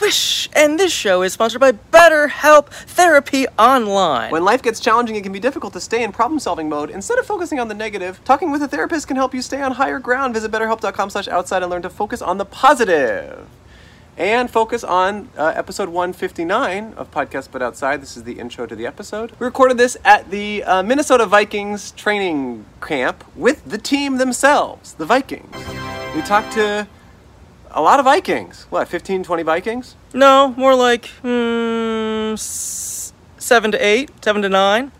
Swish! And this show is sponsored by BetterHelp Therapy Online. When life gets challenging, it can be difficult to stay in problem solving mode. Instead of focusing on the negative, talking with a therapist can help you stay on higher ground. Visit betterhelp.com slash outside and learn to focus on the positive. And focus on uh, episode 159 of Podcast But Outside. This is the intro to the episode. We recorded this at the uh, Minnesota Vikings training camp with the team themselves, the Vikings. We talked to a lot of Vikings. What, 15, 20 Vikings? no, more like mm, s- seven to eight, seven to nine.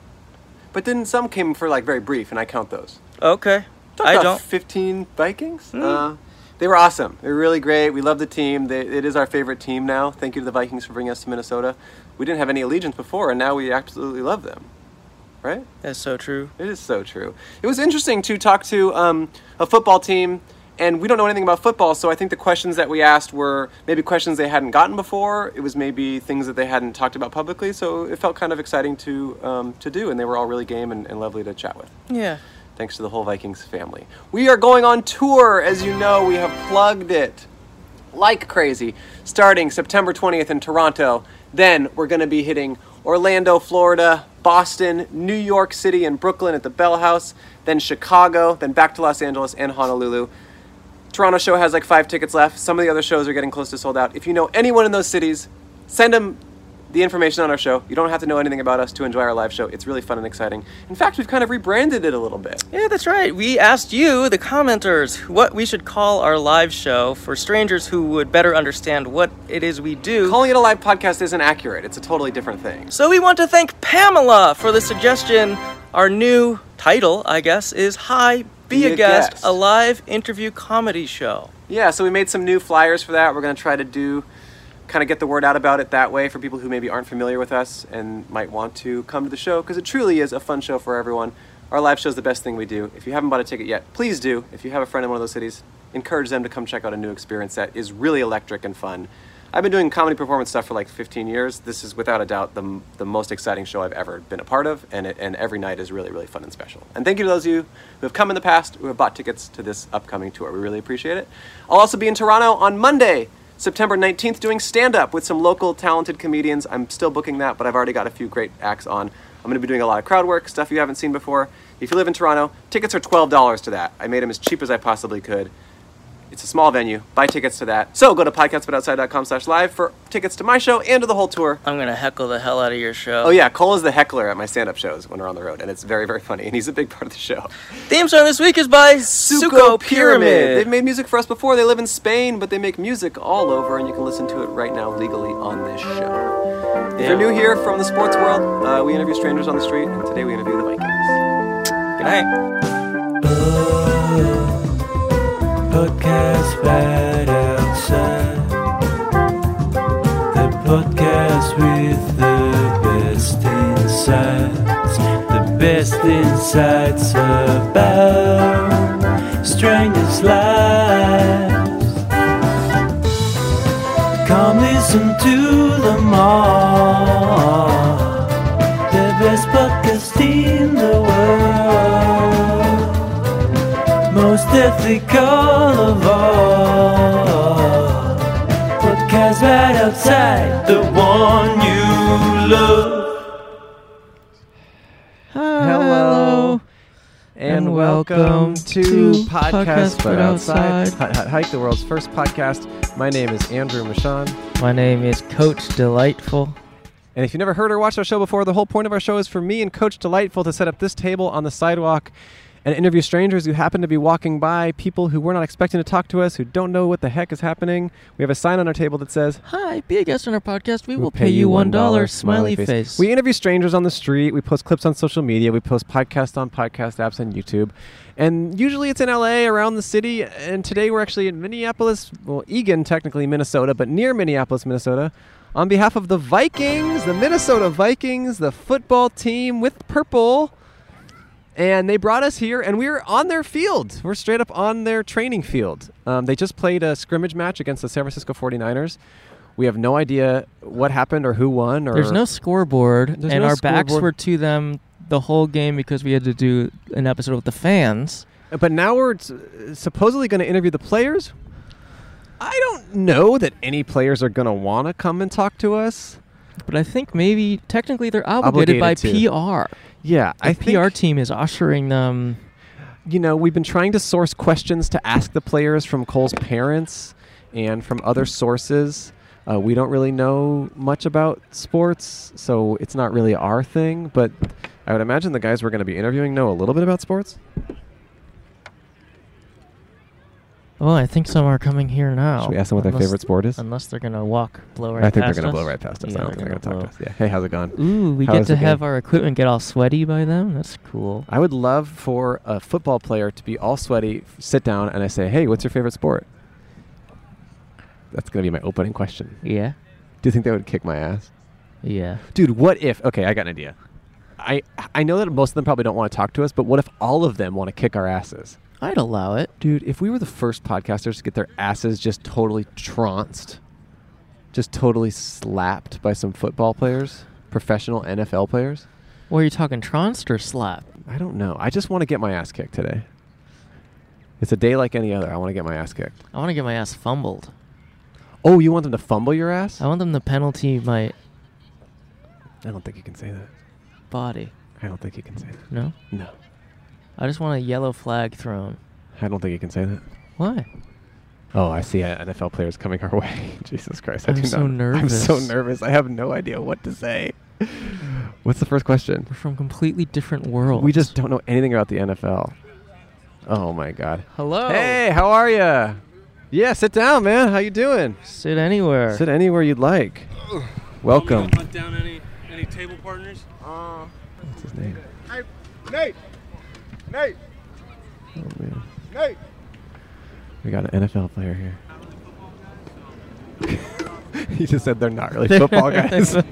But then some came for like very brief, and I count those. Okay, Talked I about don't. Hmm. 15 Vikings. Uh, they were awesome. They were really great. We love the team. They, it is our favorite team now. Thank you to the Vikings for bringing us to Minnesota. We didn't have any allegiance before, and now we absolutely love them. Right? That's so true. It is so true. It was interesting to talk to um, a football team, and we don't know anything about football, so I think the questions that we asked were maybe questions they hadn't gotten before. It was maybe things that they hadn't talked about publicly, so it felt kind of exciting to um, to do, and they were all really game and, and lovely to chat with. Yeah. Thanks to the whole Vikings family. We are going on tour, as you know. We have plugged it like crazy, starting September 20th in Toronto. Then we're going to be hitting Orlando, Florida, Boston, New York City, and Brooklyn at the Bell House, then Chicago, then back to Los Angeles and Honolulu. Toronto show has like five tickets left. Some of the other shows are getting close to sold out. If you know anyone in those cities, send them the information on our show. You don't have to know anything about us to enjoy our live show. It's really fun and exciting. In fact, we've kind of rebranded it a little bit. Yeah, that's right. We asked you, the commenters, what we should call our live show for strangers who would better understand what it is we do. Calling it a live podcast isn't accurate, it's a totally different thing. So we want to thank Pamela for the suggestion. Our new title, I guess, is Hi, Be, a, guest, a live interview comedy show. Yeah, so we made some new flyers for that. We're going to try to do kind of get the word out about it that way for people who maybe aren't familiar with us and might want to come to the show because it truly is a fun show for everyone. Our live show is the best thing we do. If you haven't bought a ticket yet, please do. If you have a friend in one of those cities, encourage them to come check out a new experience that is really electric and fun. I've been doing comedy performance stuff for like 15 years. This is without a doubt the, the most exciting show I've ever been a part of, and, it, and every night is really, really fun and special. And thank you to those of you who have come in the past who have bought tickets to this upcoming tour. We really appreciate it. I'll also be in Toronto on Monday, September 19th, doing stand up with some local talented comedians. I'm still booking that, but I've already got a few great acts on. I'm going to be doing a lot of crowd work, stuff you haven't seen before. If you live in Toronto, tickets are $12 to that. I made them as cheap as I possibly could. It's a small venue. Buy tickets to that. So go to podcastbutoutside.com slash live for tickets to my show and to the whole tour. I'm going to heckle the hell out of your show. Oh yeah, Cole is the heckler at my stand-up shows when we're on the road, and it's very, very funny, and he's a big part of the show. Theme song this week is by Suko Pyramid. They've made music for us before. They live in Spain, but they make music all over, and you can listen to it right now legally on this show. If Yeah. you're new here from the sports world, uh, we interview strangers on the street, and today we interview the Vikings. Good night. podcast right outside. The podcast with the best insights, the best insights about strangers' lives. Come listen to them all. The best podcast in the world most ethical of all. Podcast right outside the one you love. Hello. And welcome to Podcast But Outside. Hut Hut Hike, the world's first podcast. My name is Andrew Michon. My name is Coach Delightful. And if you never heard or watched our show before, the whole point of our show is for me and Coach Delightful to set up this table on the sidewalk and interview strangers who happen to be walking by, people who we're not expecting to talk to us, who don't know what the heck is happening. We have a sign on our table that says, Hi, be a guest on our podcast. We "We'll will pay, you one dollar. Smiley face. We interview strangers on the street. We post clips on social media. We post podcasts on podcast apps and YouTube. And usually it's in LA, around the city. And today we're actually in Minneapolis, well, Eagan, technically Minnesota, but near Minneapolis, Minnesota. On behalf of the Vikings, the Minnesota Vikings, the football team with purple. And they brought us here, and we're on their field. We're straight up on their training field. Um, they just played a scrimmage match against the San Francisco 49ers. We have no idea what happened or who won. Or There's no scoreboard, There's and no our backs scoreboard. were to them the whole game because we had to do an episode with the fans. But now we're s- supposedly going to interview the players. I don't know that any players are going to want to come and talk to us. But I think maybe technically they're obligated, Obligated by to. PR. Yeah, The I think PR team is ushering them. you know, we've been trying to source questions to ask the players from Cole's parents and from other sources. Uh, we don't really know much about sports, so it's not really our thing. But I would imagine the guys we're going to be interviewing know a little bit about sports. Oh, I think some are coming here now. Should we ask them what their Unless- favorite sport is? Unless they're gonna walk, blow I right. think they're past going to us. blow right past us. Yeah, I don't think they're going to talk gonna to us. Yeah. Hey, how's it going? blow. Ooh, we How get is to the game? have our equipment get all sweaty by them. That's cool. I would love for a football player to be all sweaty, f- sit down, and I say, "Hey, what's your favorite sport?" That's going to be my opening question. Yeah, Do you think that would kick my ass? yeah. Dude, what if? Okay, I got an idea. I I know that most of them probably don't want to talk to us, but what if all of them want to kick our asses? I'd allow it. Dude, if we were the first podcasters to get their asses just totally trounced, just totally slapped by some football players, professional NFL players, Well, you're talking trounced or slap. I don't know. I just want to get my ass kicked today. It's a day like any other. I want to get my ass kicked. I want to get my ass fumbled. Oh, you want them to fumble your ass? I want them to penalty my I don't think you can say that. body. I don't think you can say that. No, No. I just want a yellow flag thrown. I don't think you can say that. Why? Oh, I see uh, NFL players coming our way. Jesus Christ. I I'm do so not, I'm nervous. so nervous. I have no idea what to say. What's the first question? We're from completely different worlds. We just don't know anything about the NFL. Oh my god. Hello. Hey, how are you? Yeah, sit down, man. How you doing? Sit anywhere. Sit anywhere you'd like. Welcome. Hunt down any any table partners? What's his name? Nate! Nate! Oh man. Nate! We got an NFL player here. he just said they're not really They're- football guys. They're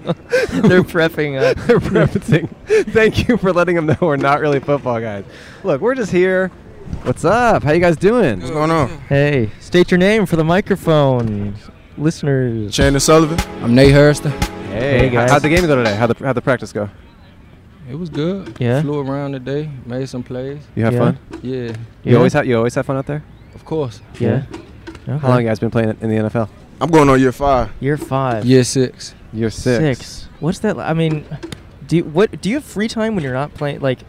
prepping up. They're referencing. Thank you for letting them know we're not really football guys. Look, we're just here. What's up? How you guys doing? What's going on? Hey, state your name for the microphone, listeners. Shannon Sullivan. I'm Nate Hurst. Hey, Hey, guys. how'd the game go today? How'd the, how'd the practice go? It was good. Yeah? Flew around today, made some plays. You have Yeah. fun. Yeah, You always have you always have fun out there. of course. Yeah. Okay. How long you guys been playing in the NFL? I'm going on year five. Year five. Year six. You're six. What's that? li- I mean, do you, what? Do you have free time when you're not playing? Like,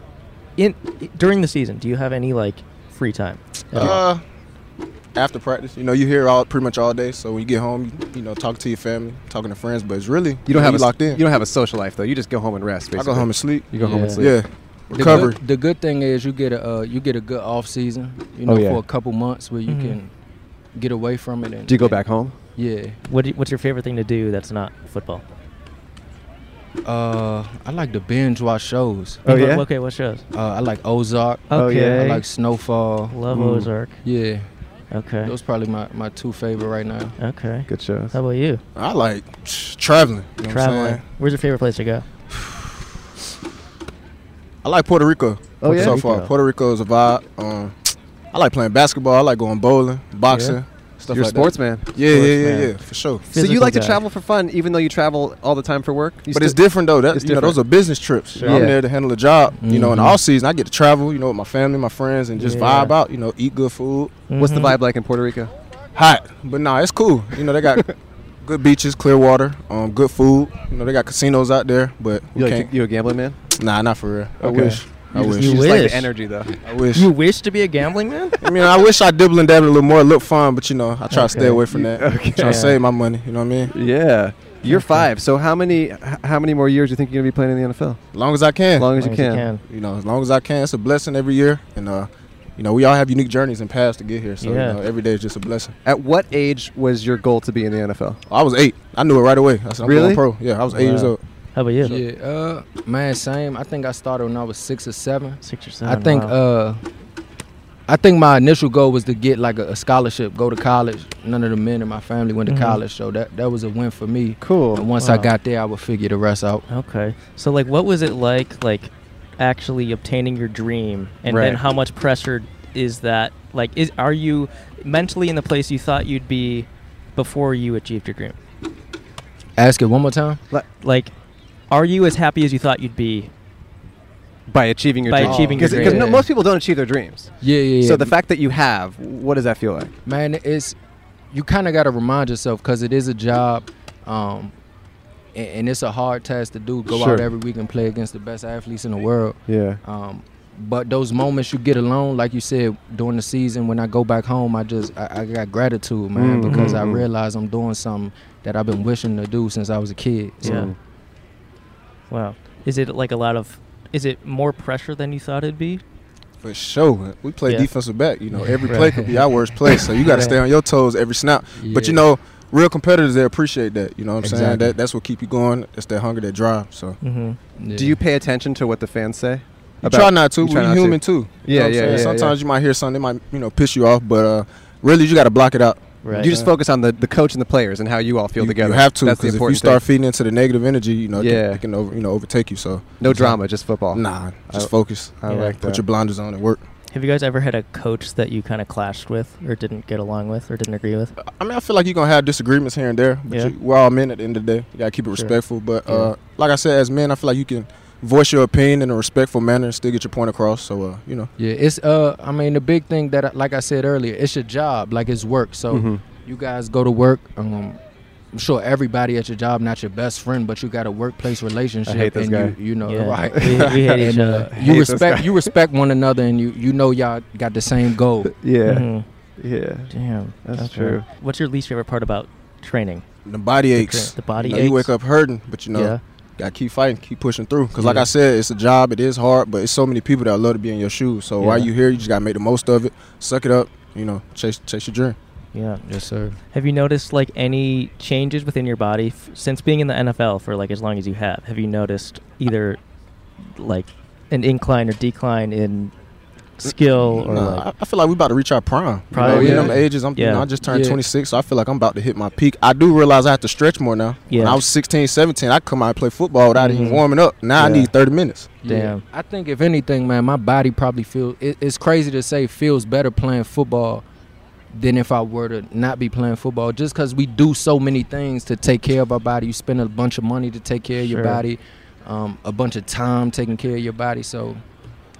in during the season, do you have any like free time? at all? Uh, after practice, you know, you here all pretty much all day. So when you get home, you, you know, talk to your family, talking to friends. But it's really You don't have a, you locked in. You don't have a social life though. You just go home and rest. I Basically. go home and sleep. you go home and Yeah. sleep. Yeah, The recovery. Good, the good thing is you get a uh, you get a good off season. You know, Oh, yeah. for a couple months where you Mhm. can get away from it. And Do you go back home? Yeah. What do you- What's your favorite thing to do that's not football? Uh, I like to binge watch shows. Oh, What- yeah? Okay, what shows? Uh, I like Ozark. Oh, yeah. I Okay. like Snowfall. Love Mm. Ozark. Yeah, Okay. those probably my, my two favorite right now. Okay. Good shows. How about you? I like psh, traveling. You know What I'm Traveling. saying? Where's your favorite place to go? I like Puerto Rico. Oh, yeah? So far, Puerto Rico is a vibe. Um, I like playing basketball. I like going bowling, boxing, stuff You're a like sportsman. that. Yeah, yeah, yeah, sportsman. yeah, for sure. so you Physical like to guy. travel for fun, even though you travel all the time for work. You But it's still- different though. That It's you know, different. those are business trips. You know, Sure. Yeah. Mm-hmm. I'm there to handle a job. You know, in the Mhm. off season, I get to travel. You know, with my family, my friends, and just Yeah. vibe out. You know, eat good food. Mm-hmm. What's the Mhm. vibe like in Puerto Rico? Hot, but nah, it's cool. You know, they got good beaches, clear water, um, good food. You know, they got casinos out there, but we You, like, can't. you a gambling man? nah, not for real. I Okay. wish. I You wish. just, you just like wish. the energy though. I wish. You wish to be a gambling man? I mean, I wish I dibble and dabble a little more, look fun, but you know, I try to Okay. stay away from that. Okay. Try to save my money. You know what I mean? Yeah. You're five. So how many h- how many more years do you think you're gonna be playing in the NFL? As long as I can. As long as, you, can. you know, as long as I can. It's a blessing every year, and uh, you know, we all have unique journeys and paths to get here. So Yeah. you know, every day is just a blessing. At what age was your goal to be in the NFL? I was eight. I knew it right away. I said, I'm Really? going pro. Yeah, I was eight Wow. years old. How about you? Yeah. Uh, man, same. I think I started when I was six or seven. Six or I seven. think wow. uh I think my initial goal was to get like a, a scholarship, go to college. None of the men in my family went to Mhm. college, so that that was a win for me. And Cool. once I Wow. got there, I would figure the rest out. Okay. So like what was it like like actually obtaining your dream and then Right. how much pressure is that like is are you mentally in the place you thought you'd be before you achieved your dream? Ask it one more time. Like are you as happy as you thought you'd be? By achieving your Oh. By dreams. achieving your Because no, dreams. most people don't achieve their dreams. Yeah, yeah. yeah. So the fact that you have, what does that feel like? man, it's you kind of got to remind yourself because it is a job, um, a- and, it's a hard task to do. Go out Sure. every week and play against the best athletes in the world. Yeah. Um, but those moments you get alone, like you said during the season, when I go back home, I just I, I got gratitude, man, Mm, because mm, I mm. realize I'm doing something that I've been wishing to do since I was a kid. So Yeah. Wow. Is it like a lot of? Is it more pressure than you thought it'd be? For sure. We play Yeah. defensive back. You know, every Right. play could be our worst play. So you got to stay Right. on your toes every snap. But you Yeah. know, real competitors, they appreciate that. You know what I'm saying? Exactly. That, that's what keep you going. It's that hunger, that drive. So Mm-hmm. Yeah. Do you pay attention to what the fans say? you try not to. you We try not to. human too. You know Yeah, what I'm yeah, saying? yeah, Sometimes you might hear something that might, you know, piss you off. But uh, really, you got to block it out. Right. You just focus on the, the coach and the players and how you all feel you, together. you have to. That's the Because if you important start thing. feeding into the negative energy, you know, it, Yeah. can, it can over, you know, overtake you. So No drama, just football. nah, just I- focus. I Yeah. like that. Put your blinders on and work. Have you guys ever had a coach that you kind of clashed with, or didn't get along with, or didn't agree with? I mean, I feel like you're gonna have disagreements here and there, but Yeah. you, we're all men at the end of the day. You gotta keep it Sure. respectful. But Yeah. uh, like I said, as men, I feel like you can voice your opinion in a respectful manner and still get your point across. So uh, you know, Yeah, it's uh, I mean, the big thing that, I- like I said earlier, it's your job, like it's work. So Mm-hmm. Mhm. you guys go to work. Um, I'm sure everybody at your job, not your best friend, but you got a workplace relationship. hate this and guy. You, you know, Yeah. right? We, we hate each And, uh, other. you Hate this guy. respect you respect one another, and you you know y'all got the same goal. Mm-hmm. Yeah, Mhm. yeah. Damn. That's okay. true. What's your least favorite part about training? the body aches. The body you, know, you aches? wake up hurting, but you know, Yeah. gotta keep fighting, keep pushing through. Because like Yeah. I said, it's a job. It is hard, but it's so many people that love to be in your shoes. So while Yeah. you here, you just gotta make the most of it. Suck it up. You know, chase chase your dream. Yeah. Yes, sir. Have you noticed like any changes within your body f- since being in the NFL for like as long as you have? Have you noticed either like an incline or decline in skill or Nah, like I, I feel like we about to reach our prime. Prime, you know, we Oh, yeah. in them ages. I'm, you Yeah. know, I just turned Yeah. 26, so I feel like I'm about to hit my peak. I do realize I have to stretch more now. When Yeah. I was 16, 17, I could come out and play football without Mhm. even warming up. Now Yeah. I need 30 minutes. Damn. Mm-hmm. I think if anything, man, my body probably feels. It, it's crazy to say feels better playing football than if I were to not be playing football. Just because we do so many things to take care of our body, you spend a bunch of money to take care of your Sure. body, um, a bunch of time taking care of your body. So,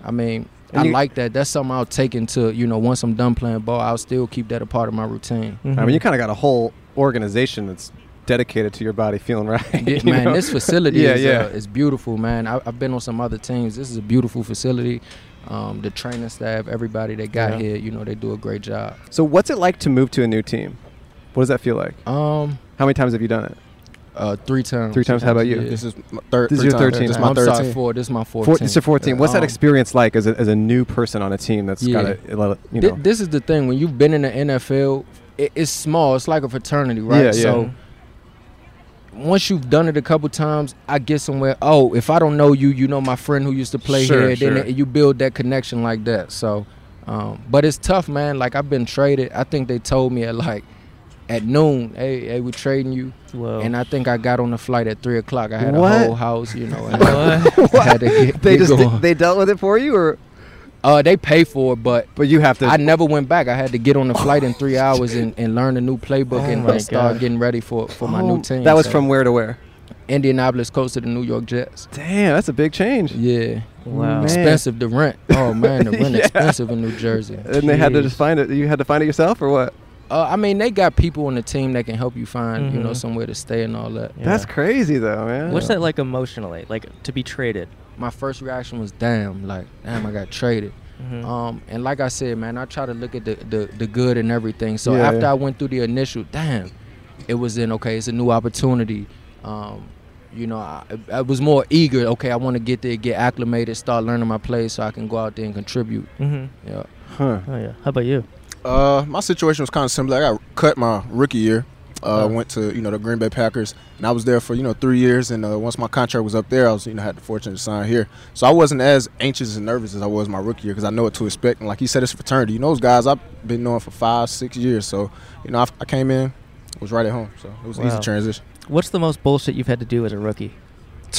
I mean, And I you- like that. That's something I'll take into you know once I'm done playing ball, I'll still keep that a part of my routine. I mean, you Mhm. kind of got a whole organization that's dedicated to your body feeling right. Yeah, you man, know? this facility Yeah, is, yeah. Uh, is beautiful, man. I, I've been on some other teams. This is a beautiful facility. Um, the training staff, everybody they got Yeah. here, you know, they do a great job. So, what's it like to move to a new team? What does that feel like? Um, How many times have you done it? uh, three times. Three times. How about you? Yeah. This is my third. This is your three times. third team. This is I'm my third sorry, team. four. This is my fourth. Four, team. this is 14. What's that Um, experience like as a, as a new person on a team that's got a lot of, you thi- know? This is the thing when you've been in the NFL, it, it's small. It's like a fraternity, right? Yeah, yeah. So once you've done it a couple times, I get somewhere. Oh, if I don't know you, you know my friend who used to play Sure, here. Then sure. it- you build that connection like that. So, um, but it's tough, man. Like I've been traded. I think they told me at like at noon, hey, hey, we trading you. Whoa. And I think I got on the flight at three o'clock. I had a What? whole house, you know. And I had to get, they get just going. they dealt with it for you, or uh, they pay for it, but but you have to. Oh, I never went back. I had to get on the flight in three hours and, and learn a new playbook and my like, start God. getting ready for, for my Oh, new team. That was So, from where to where? Indianapolis Colts to the New York Jets. Damn, that's a big change. Yeah, wow. Man. expensive the rent. Oh man, the rent Yeah. expensive in New Jersey. And they had to Jeez. just find it. You had to find it yourself, or what? Uh, I mean, they got people on the team that can help you find you know Mhm. somewhere to stay and all that. Yeah. Mm-hmm. That's crazy, though, man. What's that like emotionally? Like to be traded. My first reaction was damn, like damn, I got traded. Mhm. Um, and like I said, man, I try to look at the the, the good and everything. So Yeah, after yeah. I went through the initial, damn, it was in okay. It's a new opportunity. Um, you know, I, I was more eager. Okay, I want to get there, get acclimated, start learning my plays, so I can go out there and contribute. Mhm. Yeah. Huh. Oh yeah. How about you? Uh, my situation was kind of similar. I got cut my rookie year. Uh, Uh. went to you know the Green Bay Packers, and I was there for you know three years. And uh, once my contract was up there, I was you know had the fortune to sign here. So I wasn't as anxious and nervous as I was my rookie year because I know what to expect. And like he said, it's a fraternity. You know those guys I've been knowing for five, six years. So you know I, I came in, was right at home. So it was an Wow. easy transition. What's the most bullshit you've had to do as a rookie?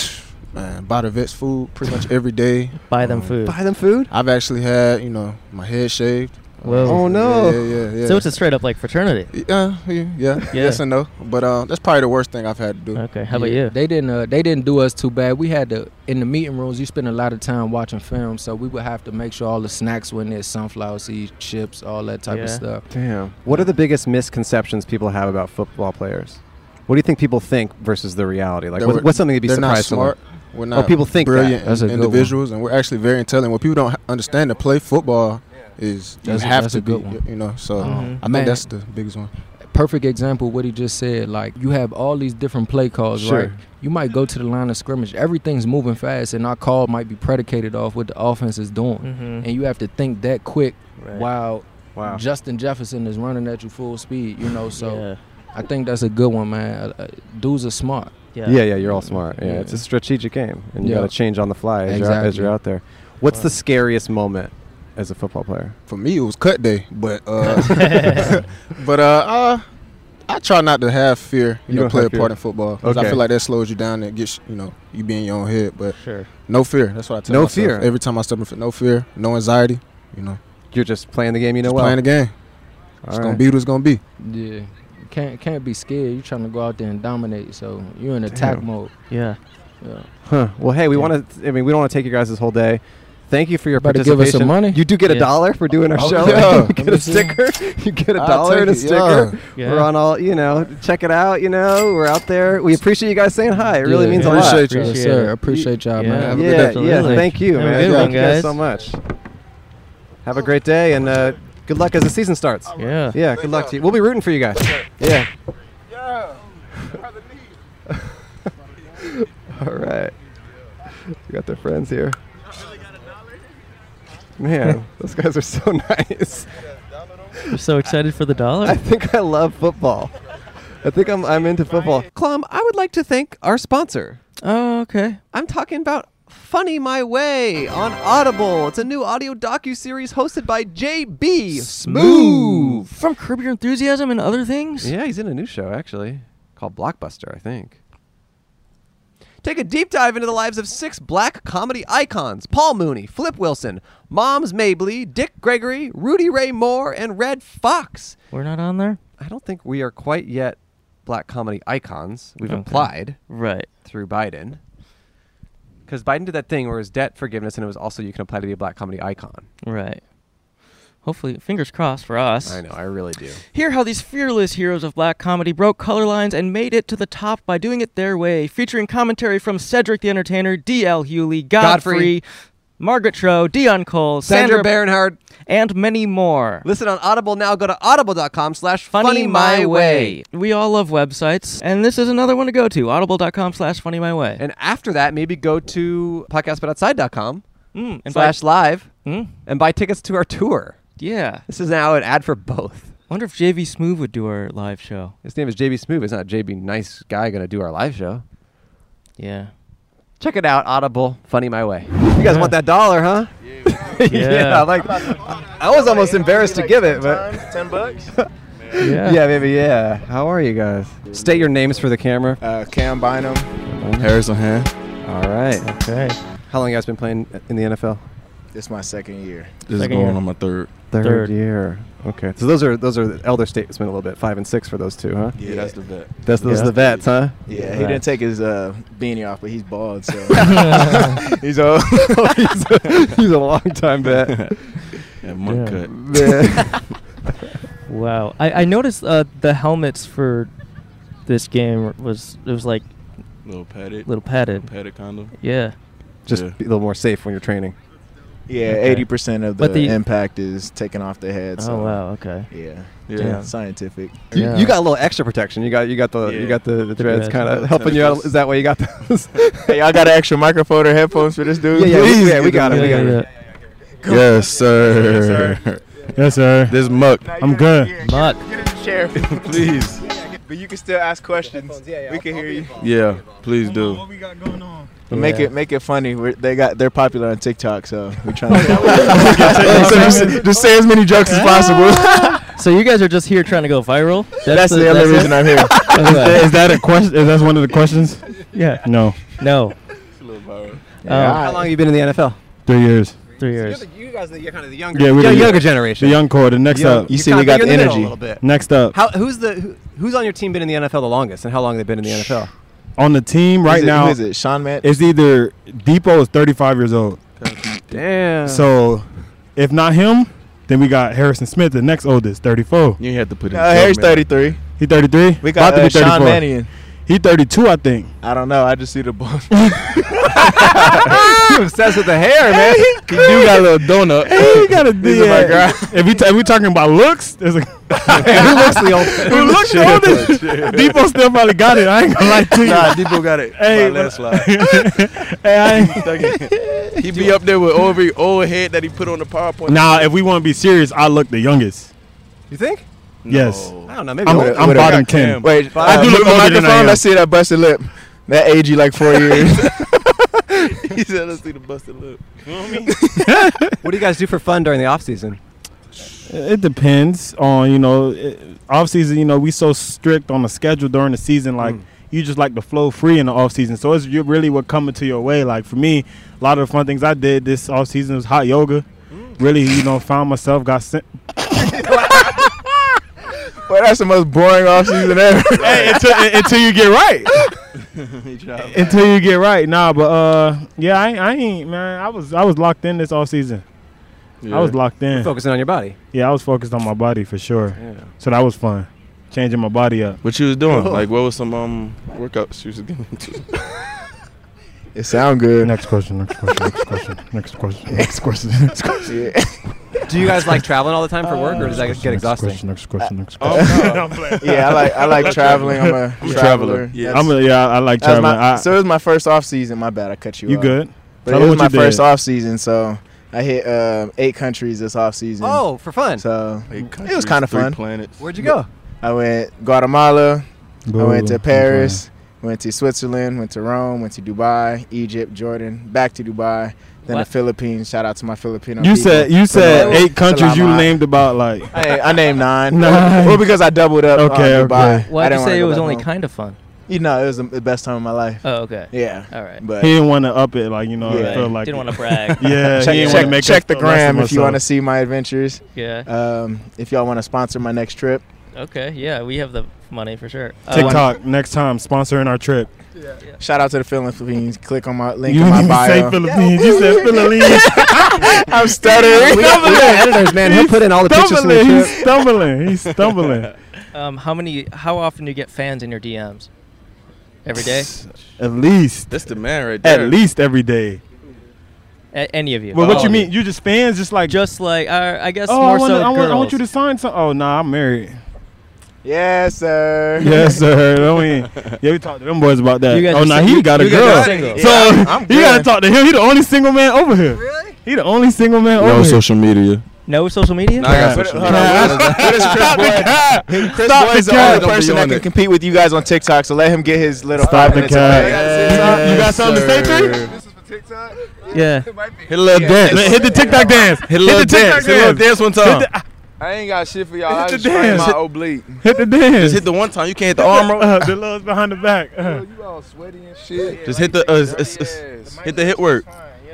Man, buy the vets food pretty much every day. Buy them Um, food. Buy them food. I've actually had you know my head shaved. Whoa. Oh no. Yeah, yeah, yeah. So it's a straight up like fraternity. yeah, yeah, yeah. yes and no. But uh, that's probably the worst thing I've had to do. Okay. How about Yeah, you? They didn't. Uh, they didn't do us too bad. We had to in the meeting rooms. You spend a lot of time watching film, so we would have to make sure all the snacks were in there, sunflower seeds, chips, all that type Yeah. of stuff. Damn. What are the biggest misconceptions people have about football players? What do you think people think versus the reality? Like, That what, we're- what's something to be They're not surprised to learn? smart. We're not people think that. brilliant That's a good one. individuals, and we're actually very intelligent. What people don't h- understand to play football is you That's a- have that's to a good be, one. you know. So Mhm. I Man. think that's the biggest one. Perfect example. What he just said. Like you have all these different play calls, Sure. right? You might go to the line of scrimmage. Everything's moving fast, and our call might be predicated off what the offense is doing. Mm-hmm. And you have to think that quick while Wow. Justin Jefferson is running at you full speed. You know, so yeah. I think that's a good one, man. Uh, uh, Dudes are smart. Yeah. Yeah, yeah, you're all smart. Yeah, Yeah. it's a strategic game, and you Yeah. got to change on the fly as, you're, out- as Exactly. you're out there. What's Wow. the scariest moment as a football player? For me, it was cut day, but uh, but uh, uh, I try not to have fear. You You, know, don't play have a part fear. in football 'cause Okay. I feel like that slows you down and gets you know you be in your own head. But Sure. no fear. That's what I tell No myself fear. every time I step in. for No fear, no anxiety. You know, You're just playing the game, you know just well. playing the game. It's All gonna right. be what it's gonna be. Yeah. Can't can't be scared. You're trying to go out there and dominate, so you're in attack Damn. mode. Yeah. Yeah. Huh. Well, hey, we Yeah. want to. I mean, we don't want to take you guys this whole day. Thank you for your Better participation. give us some money. You do get a Yeah. dollar for doing our Oh, show. yeah. you get Let a me see. sticker. You get a I'll dollar and a take it, sticker. yeah. Yeah. We're on all. You know, check it out. You know, we're out there. We appreciate you guys saying hi. It really Yeah, means a yeah. lot. Appreciate you. Yes, Appreciate sir. it. Appreciate y'all, Yeah. man. Have a yeah, good day. yeah. Absolutely. Thank you, Have a man. good Yeah, one, thank you guys guys. so much. Have a great day and uh, good luck as the season starts. Yeah. Yeah, good luck to you. We'll be rooting for you guys. Yeah. All right. We got their friends here. Man, those guys are so nice. I'm so excited for the I dollar. think I love football. I think I'm, I'm into football. Clem, I would like to thank our sponsor. Oh, okay. I'm talking about Funny My Way on Audible. It's a new audio docu-series hosted by JB Smoove. From Curb Your Enthusiasm and other things? Yeah, he's in a new show actually called Blockbuster, I think. Take a deep dive into the lives of six black comedy icons Paul Mooney, Flip Wilson, Moms Mabley, Dick Gregory, Rudy Ray Moore, and Red Fox. We're not on there? I don't think we are quite yet black comedy icons. We've Okay. applied Right. through Biden. Because Biden did that thing where it was debt forgiveness and it was also you can apply to be a black comedy icon. Right. Hopefully, fingers crossed for us. I know, I really do. Hear how these fearless heroes of black comedy broke color lines and made it to the top by doing it their way, featuring commentary from Cedric the Entertainer, D.L. Hewley, Godfrey. Godfrey, Margaret Cho, Dion Cole, Sandra Sandra, Bernhard. and many more. Listen on Audible now. Go to audible.com slash Funny My Way. We all love websites, and this is another one to go to. Audible.com slash Funny My Way. And after that, maybe go to podcastbutoutside.com Mm, and slash live by- mm, and buy tickets to our tour. yeah. This is now an ad for both. Wonder if JV Smoove would do our live show. His name is JB Smoove. It's not JB Nice Guy going to do our live show. Yeah. Check it out, Audible, Funny My Way. You guys want that dollar, huh? Yeah, Yeah. like I was almost embarrassed to give it, but Ten bucks. Yeah. yeah, maybe yeah. How are you guys? State your names for the camera. Uh, Cam Bynum, Harrison Hand. All right. Okay. How long you guys been playing in the NFL? This is my second year. This is Second going year. on my third. Third, Third. year. Okay. So those are those are the elder states been a little bit five and six for those two, huh? Yeah, that's the bet. That's those Yeah. are the vets, huh? Yeah, he Right. didn't take his uh, beanie off, but he's bald, so he's a he's a, he's a long time vet. and monk Yeah. cut. Man. Wow, I, I noticed uh, the helmets for this game was it was like Little petted. little padded. petted kind of. Yeah, Just Yeah. be a little more safe when you're training. Yeah, Okay. eighty percent of the, But the- impact is taken off the head. So Oh wow. Okay. Yeah. Yeah. Scientific. You, Yeah. you got a little extra protection. You got you got the you Yeah. got the, the dreads dreads. kind of Little helping you out. tentacles. Is that why you got those? Hey, y'all got an extra microphone or headphones for this dude? Yeah, yeah, Please yeah, we get got them. it, we got it. Yes, sir. Yes, sir. This muck. I'm good. Muck. Get in the chair, please. But you can still ask questions. we can hear you. Yeah, please do. What we got going on? But make Yeah. it make it funny. We're, they got they're popular on TikTok, so we're trying to. So just, just say as many jokes as possible. So you guys are just here trying to go viral. That's the only reason I'm here. Okay. Is that a question? Is that one of the questions? yeah. No. No. Um, How long have you been in the NFL? Three years. Three years. you guys are kind of the younger. Yeah, we're Yeah, the younger generation. The young core. The next Young- up. You see, we got the energy. Next up. How, who's the who, who's on your team been in the NFL the longest, and how long they've been in the NFL? on the team Who's right it- now. who is it? Sean Matt? It's either Depot is 35 years old. Damn. So if not him, then we got Harrison Smith, the next oldest, 34. You have to put in. in Uh, the Harry's joke, man. 33. He 33. We got, About to uh, be Sean 34. Mannion. He 32, I think. I don't know. I just see the ball. you obsessed with the hair, man. He do got a little donut. He got a These are my yeah. If we ta- if we talking about looks, there's a Who looks the old- Who looks the oldest? Shit. Depot still probably got it. I ain't gonna lie to you. Nah, Debo got it. Hey, By landslide. hey, I ain't- he be up there with every old head that he put on the PowerPoint. Now, if we want to be serious, I look the youngest. You think? Yes. I don't know. Maybe I'm, older. I'm Whatever. bottom ten. Wait, uh, I do look the older than I microphone. am. Let's see that busted lip. That age you like four years. he said, "Let's see the busted lip." what do you guys do for fun during the off season? It depends on you know it, off season. You know we so strict on the schedule during the season. Like you just like to flow free in the off season. So it's you really what coming to your way. Like for me, a lot of the fun things I did this off season was hot yoga. Really, you know, found myself got sent. Well, that's the most boring offseason ever. Hey, until, until you get right. until you get right. Nah, but uh, yeah, I, I ain't man. I was I was locked in this off season. I was locked in. Focusing on your body. Yeah, I was focused on my body for sure. So that was fun, changing my body up. What you was doing? Like, what was some um workouts you was getting into? it sound good. Next question. Next question. Next question. Next question. Next question. Next question. Yeah. Do you guys like traveling all the time for work, or does that get exhausting? Next question. Next Oh, no. yeah, I like I like traveling. I'm a I'm a traveler. traveler. Yeah. I'm a- yeah, I like That's my- traveling. I- so it was my first off season. My bad, I cut you. You off. good? But Tell it them what was my you did. first off season, so I hit uh, eight countries this off season. Oh, for fun. So it was kind of fun. Planets. Where'd you go? I went Guatemala. I went Guatemala. to Paris. Went to Switzerland. Went to Rome. Went to Dubai, Egypt, Jordan. Back to Dubai. Then What? the Philippines. Shout out to my Filipino. You people. said you said Salamat. eight countries. You Salamat. named about like. Hey, I named nine. Nine. Well, because I doubled up. Okay, on okay. Dubai. Why'd I didn't you wanna say it go was back only home. kind of fun? You know, it was the the best time of my life. Oh, okay. Yeah. All right. But he didn't want to up it, like you know. Yeah. I feel like Didn't want to brag. Yeah, check, he didn't check- wanna make check a- the a mess of gram if you myself. want to see my adventures. Yeah. Um, if y'all want to sponsor my next trip, Okay. Yeah, we have the money for sure. Uh, TikTok next time sponsoring our trip. shout out to the Philippines. Click on my link you in my didn't even say bio. Philippines. You said Philippines. I'm stuttering. We got, we got editors, man. He'll put in all the pictures from the stumbling. trip. He's stumbling. He's stumbling. Um, how many? How often do you get fans in your DMs? Every day? At least. That's the man right At least every day. A- any of you? Well, All what you of mean? You just fans, just like. Just like uh, I guess oh, more I, wanna, so I, want, girls. I want you to sign some. Oh, nah, I'm married. Yes, sir. yes, sir. Don't we- Yeah, we talked to them boys about that. You guys Oh, are nah, sing- he got a you guys are girl. single. So Yeah, I'm- I'm you gotta good. talk to him. He the only single man over here. Really? He the only single man over No here. social media. No social media. Nah, I got Nah. social media. What is Chris Boyd? Chris Stop Boyd's the the only cap. Don't be person that on can it. compete with you guys on TikTok. So let him get his little Stop five the minutes. cap. away. Yes, You got something to say, sir. Trey? This is for TikTok. Yeah. Hit a little Hit, dance. hit the TikTok dance. Hit a little the TikTok dance. Hit a little dance. dance one Hit time. the, I ain't got shit for y'all. I just sprained my oblique. hit the dance. Just hit the one time. You can't hit the arm roll. uh, the love's behind the back. Uh. You all sweaty and shit. Just hit the uh, s- s- s- hit the hit work.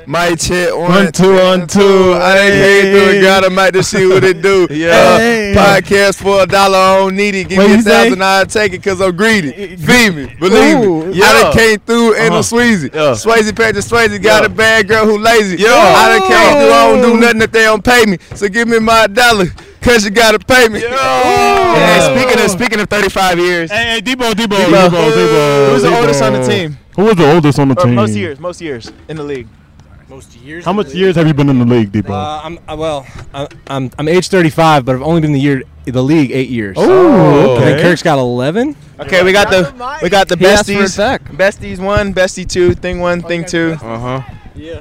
My check One, two, one, two. I done came through and got him out to see what it do. yeah. Hey. podcast for a dollar, I don't need it. Give What me a you say? thousand, I'll take it because I'm greedy. Feed me, believe Ooh, me. I yeah. done came through and Uh-huh. I'm Sweezy. Yeah. Swayze Patrick Swayze got Yeah. a bad girl who lazy. Yeah. I done came through, I don't Ooh. do nothing if they don't pay me. So give me my dollar because you got to pay me. Yeah. And speaking of speaking of 35 years, Hey, hey, Debo, Debo, Debo, Debo. Debo, Debo. Who's the oldest on the team? Who was the oldest on the Or team? most years, most years in the league. Most years. How much years have you been in the league, Debo? Uh, I'm I, well. I- I'm I'm age 35, but I've only been in the year the league eight years. oh, I think Kirk's got 11. Okay, we got the we got the He asked for it besties. back. Besties one, bestie two, thing one, thing two. Uh huh.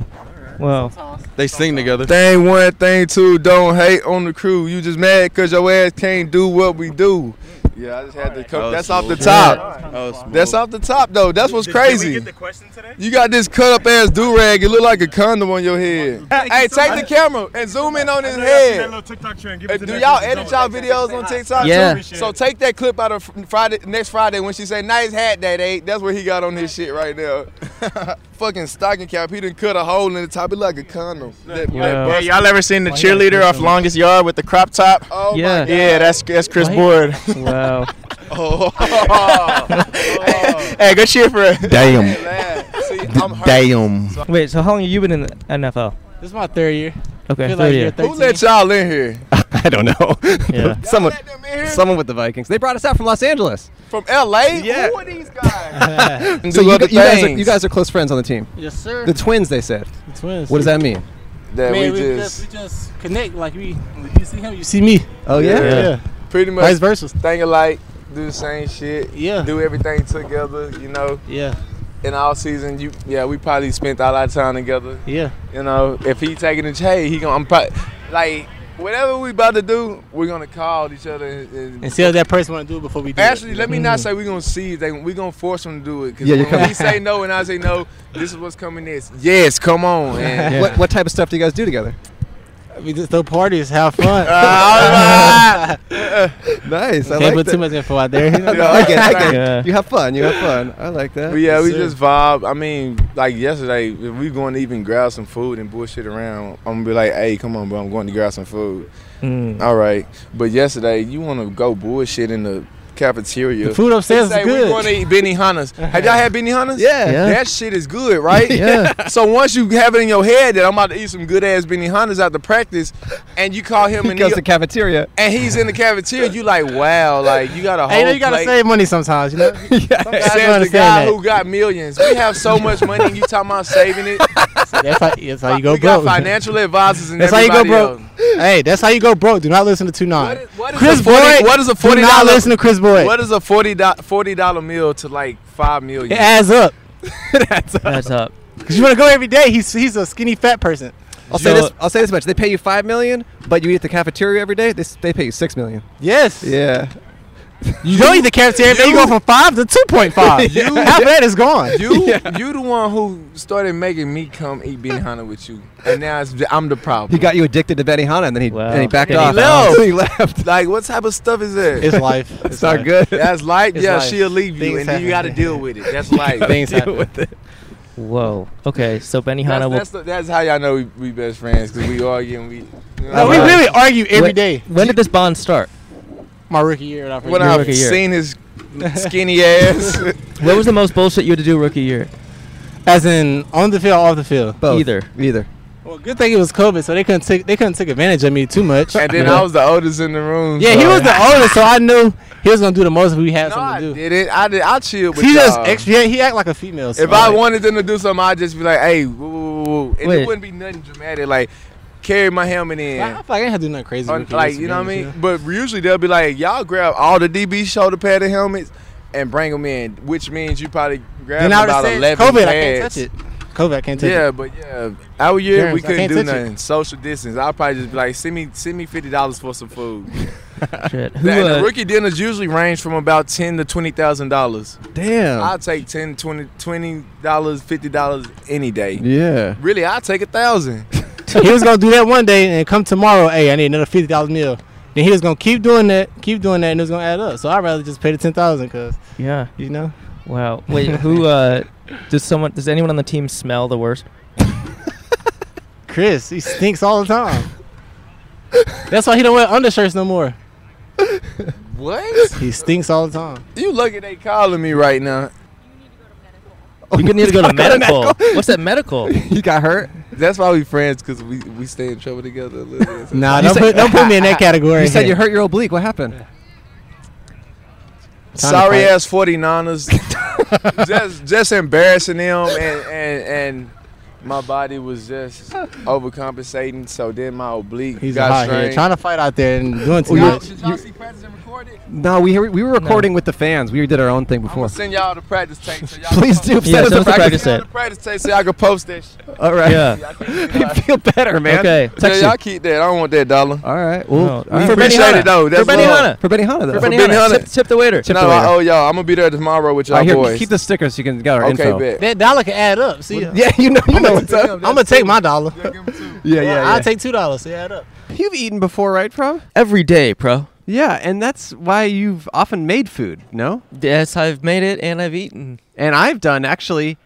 Well, They sing together. Thing one, thing two. Don't hate on the crew. You just mad because your ass can't do what we do. Yeah, I just had to come. Oh, That's off the top. That's off the top though. That's what's crazy. question today? You got this cut up ass do rag. It look like a condom on your head. Hey, take the camera and zoom in on his head. Hey, do y'all edit y'all videos on TikTok Yeah. too? So take that clip out of fr- Friday, next Friday when she say "Nice hat, that eight. That's what he got on his shit right now. fucking stocking cap. He didn't cut a hole in the top. It like a condom. That- that Hey, bust- y'all ever seen the cheerleader off Longest Yard with the crop top? Oh yeah. Yeah, that's that's Chris Board. Wow. oh. hey, go cheer for her. Damn. Damn. Wait, so how long have you been in the NFL? This is my third year. Okay, I feel third like year. you're Who let y'all in here? I don't know. Yeah. someone, someone with the Vikings. They brought us out from Los Angeles. From L.A. Yeah. Who are these guys? so do you, other gu- you guys are, things. you guys are close friends on the team. Yes, sir. The twins, they said. The twins. What does that mean? That Man, we we just. we just connect like we. You see him, you see me. Oh yeah. Yeah. Pretty much. Vice versa. Think alike, do the same shit. Yeah. Do everything together, you know. Yeah. In all season, you yeah, we probably spent all our time together. Yeah. You know, if he taking the hey, he gonna I'm probably like whatever we about to do, we're gonna call each other and, and- And see if that person want to do it before we do it. Actually, let me not say we're gonna see. if They, we're gonna force them to do it. Cause Yeah, you're when coming- he say no and I say no, this is what's coming next. Yes, come on. And What, what type of stuff do you guys do together? We just throw parties, have fun. Ah, Nice. I Can't like put that. too much info out there. Yeah, I get, it, I get. it. Yeah. You have fun. You have fun. I like that. But yeah, we sir. just vibe. I mean, like yesterday, if we going to even grab some food and bullshit around, I'm gonna be like, "Hey, come on, bro, I'm going to grab some food." Mm. All right, but yesterday you want to go bullshit in the cafeteria. The food upstairs They is say, good." We going to eat Benihana's. Have y'all had Benihana's? Yeah. Yeah. that shit is good, right? Yeah. So once you have it in your head that I'm about to eat some good ass Benihana's after practice, and you call him He and, goes he- to cafeteria. and he's in the cafeteria, you like, wow, like you got a whole. Hey, you, know, you gotta plate. save money sometimes, you know. Sometimes I don't Says the understand guy that. who got millions. We have so much money. and You talking about saving it? That's how, that's how you go we broke. got financial advisors and That's how you go everybody broke. else. hey, that's how you go broke. Do not listen to two nine. What is- what is Chris a 40 Boyd. what is a Do not $40 listen to Chris Boyd. What is a forty forty dollar meal to like five million? it adds up. That's up. Cause you wanna go every day. He's he's a skinny fat person. I'll say So- this. I'll say this much. They pay you five million, but you eat at the cafeteria every day. They, s- they pay you six million. Yes. Yeah. You don't eat the cafeteria. You, you go from five to two point five. You- Half of that is gone. You you the one who started making me come eat bean hunter with you, and now it's, I'm the He problem. got you addicted to Benny Hanna, and then he Uh, Wow. and he backed Then he off. left. he left. like what type of stuff is that? It's life. It's not good. That's life. It's Yeah, life. she'll leave you, Things and then you got happen. to deal with it. That's life. Things Deal happen. with it. Whoa. Okay, so Benihana That's, will. that's, the, that's how y'all know we, we best friends because we argue and we. You No, we Alright. really argue every Uh, When- day. When did this bond start? My rookie year. and I when forget. I've rookie year. seen his skinny ass. What was the most bullshit you had to do rookie year? As in on the field, off the field. Both. Either. Either. Well, good thing it was COVID, so they couldn't take they couldn't take advantage of me too much. and then I was the oldest in the room. yeah, he so- was the oldest, so I knew he was gonna do the most if we had No, I something to do. didn't. I did. I chilled with He just y'all. extra, yeah, he act like a female. so If I like- wanted them to do something, I'd just be like, "Hey, woo, woo, woo, woo," and Wait. it wouldn't be nothing dramatic. Like, carry my helmet in. Like, I feel like I didn't have to do nothing crazy. Or, with like kids, you to know what I be mean? honest But usually they'll be like, y'all grab all the DB shoulder pad and helmets and bring them in, which means you probably with you. grab Then I would about have said eleven COVID, pads. I can't touch it. COVID, I can't touch Yeah, it. but yeah, our year we Germs, I couldn't can't do touch it. nothing. Social distance. I'll probably just be like, send me send me fifty dollars for some food. Shit. Who, and the uh, rookie dinners usually range from about ten to twenty thousand dollars. Damn. I'll take 10 20 twenty dollars, fifty dollars any day. yeah. Really, I'll take a thousand. he was gonna do that one day and come tomorrow. Hey, I need another fifty dollars meal. Then he was gonna keep doing that, keep doing that, and it was gonna add up. So I'd rather just pay the ten thousand, cause yeah. you know. Wow. Wait. Who? Uh, does someone? Does anyone on the team smell the worst? Chris, he stinks all the time. That's why he don't wear undershirts no more. What? He stinks all the time. You lucky they calling me right now. You need to go to medical. What's that medical? You got hurt. That's why we friends, cause we we stay in trouble together a little bit. Nah, You don't said- put don't put me in that category. You said you here. hurt your oblique. What happened? Sorry fight. ass 49ers. just just embarrassing them and, and and my body was just overcompensating. So then my oblique He's got out here strained. trying to fight out there and doing too Well, much. Did y'all see practice and record it? No, we we were recording with the fans. We did our own thing I'm gonna before. send y'all the practice tape. So y'all Please can do. post- Yeah, send us send a us practice. a practice Send set. the practice tape so y'all can post that shit. All right. Yeah. Y'all I keep- feel better, man. Okay. Yeah, Text you. y'all keep that. I don't want that dollar. All right. No, Well, all we- right. for appreciate Benihana. it, though. That's for Benihana. for Benny Hanna, though. For Benny Benihana. Hanna. Tip, tip the waiter. Tip no, the I waiter. owe y'all. I'm gonna be there tomorrow with y'all All right, here, boys. keep the stickers. so You can get our okay, info. bet. That dollar can add up. See, Yeah, you know, you know what's I'm up. gonna take my dollar. Yeah, yeah, I'll take two dollars. See, add up. You've eaten before, right, Prob? Every day, bro. Yeah, and that's why you've often made food. No, Yes, I've made it and I've eaten. and I've done actually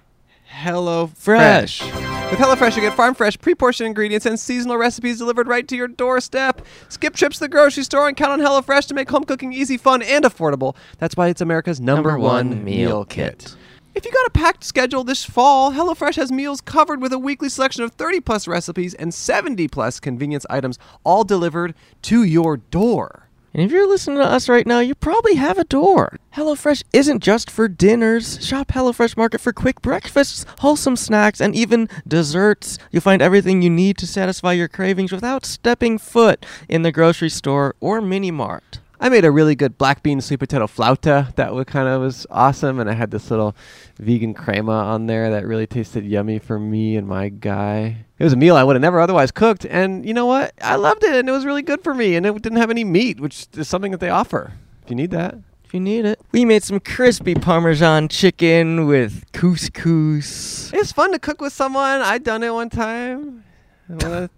Hello Fresh. With HelloFresh, you get farm fresh, pre-portioned ingredients and seasonal recipes delivered right to your doorstep. Skip trips to the grocery store and count on HelloFresh to make home cooking easy, fun, and affordable. That's why it's America's number, one, meal kit. If you got a packed schedule this fall, HelloFresh has meals covered with a weekly selection of 30 plus recipes and 70 plus convenience items, all delivered to your door. And if you're listening to us right now, you probably have a door. HelloFresh isn't just for dinners. Shop HelloFresh Market for quick breakfasts, wholesome snacks, and even desserts. You'll find everything you need to satisfy your cravings without stepping foot in the grocery store or mini mart. I made a really good black bean sweet potato flauta that was kind of was awesome, and I had this little vegan crema on there that really tasted yummy for me and my guy. It was a meal I would have never otherwise cooked, and you know what? I loved it, and it was really good for me, and it didn't have any meat, which is something that they offer if you need that. If you need it, we made some crispy Parmesan chicken with couscous. It's fun to cook with someone. I done it one time. I wanna-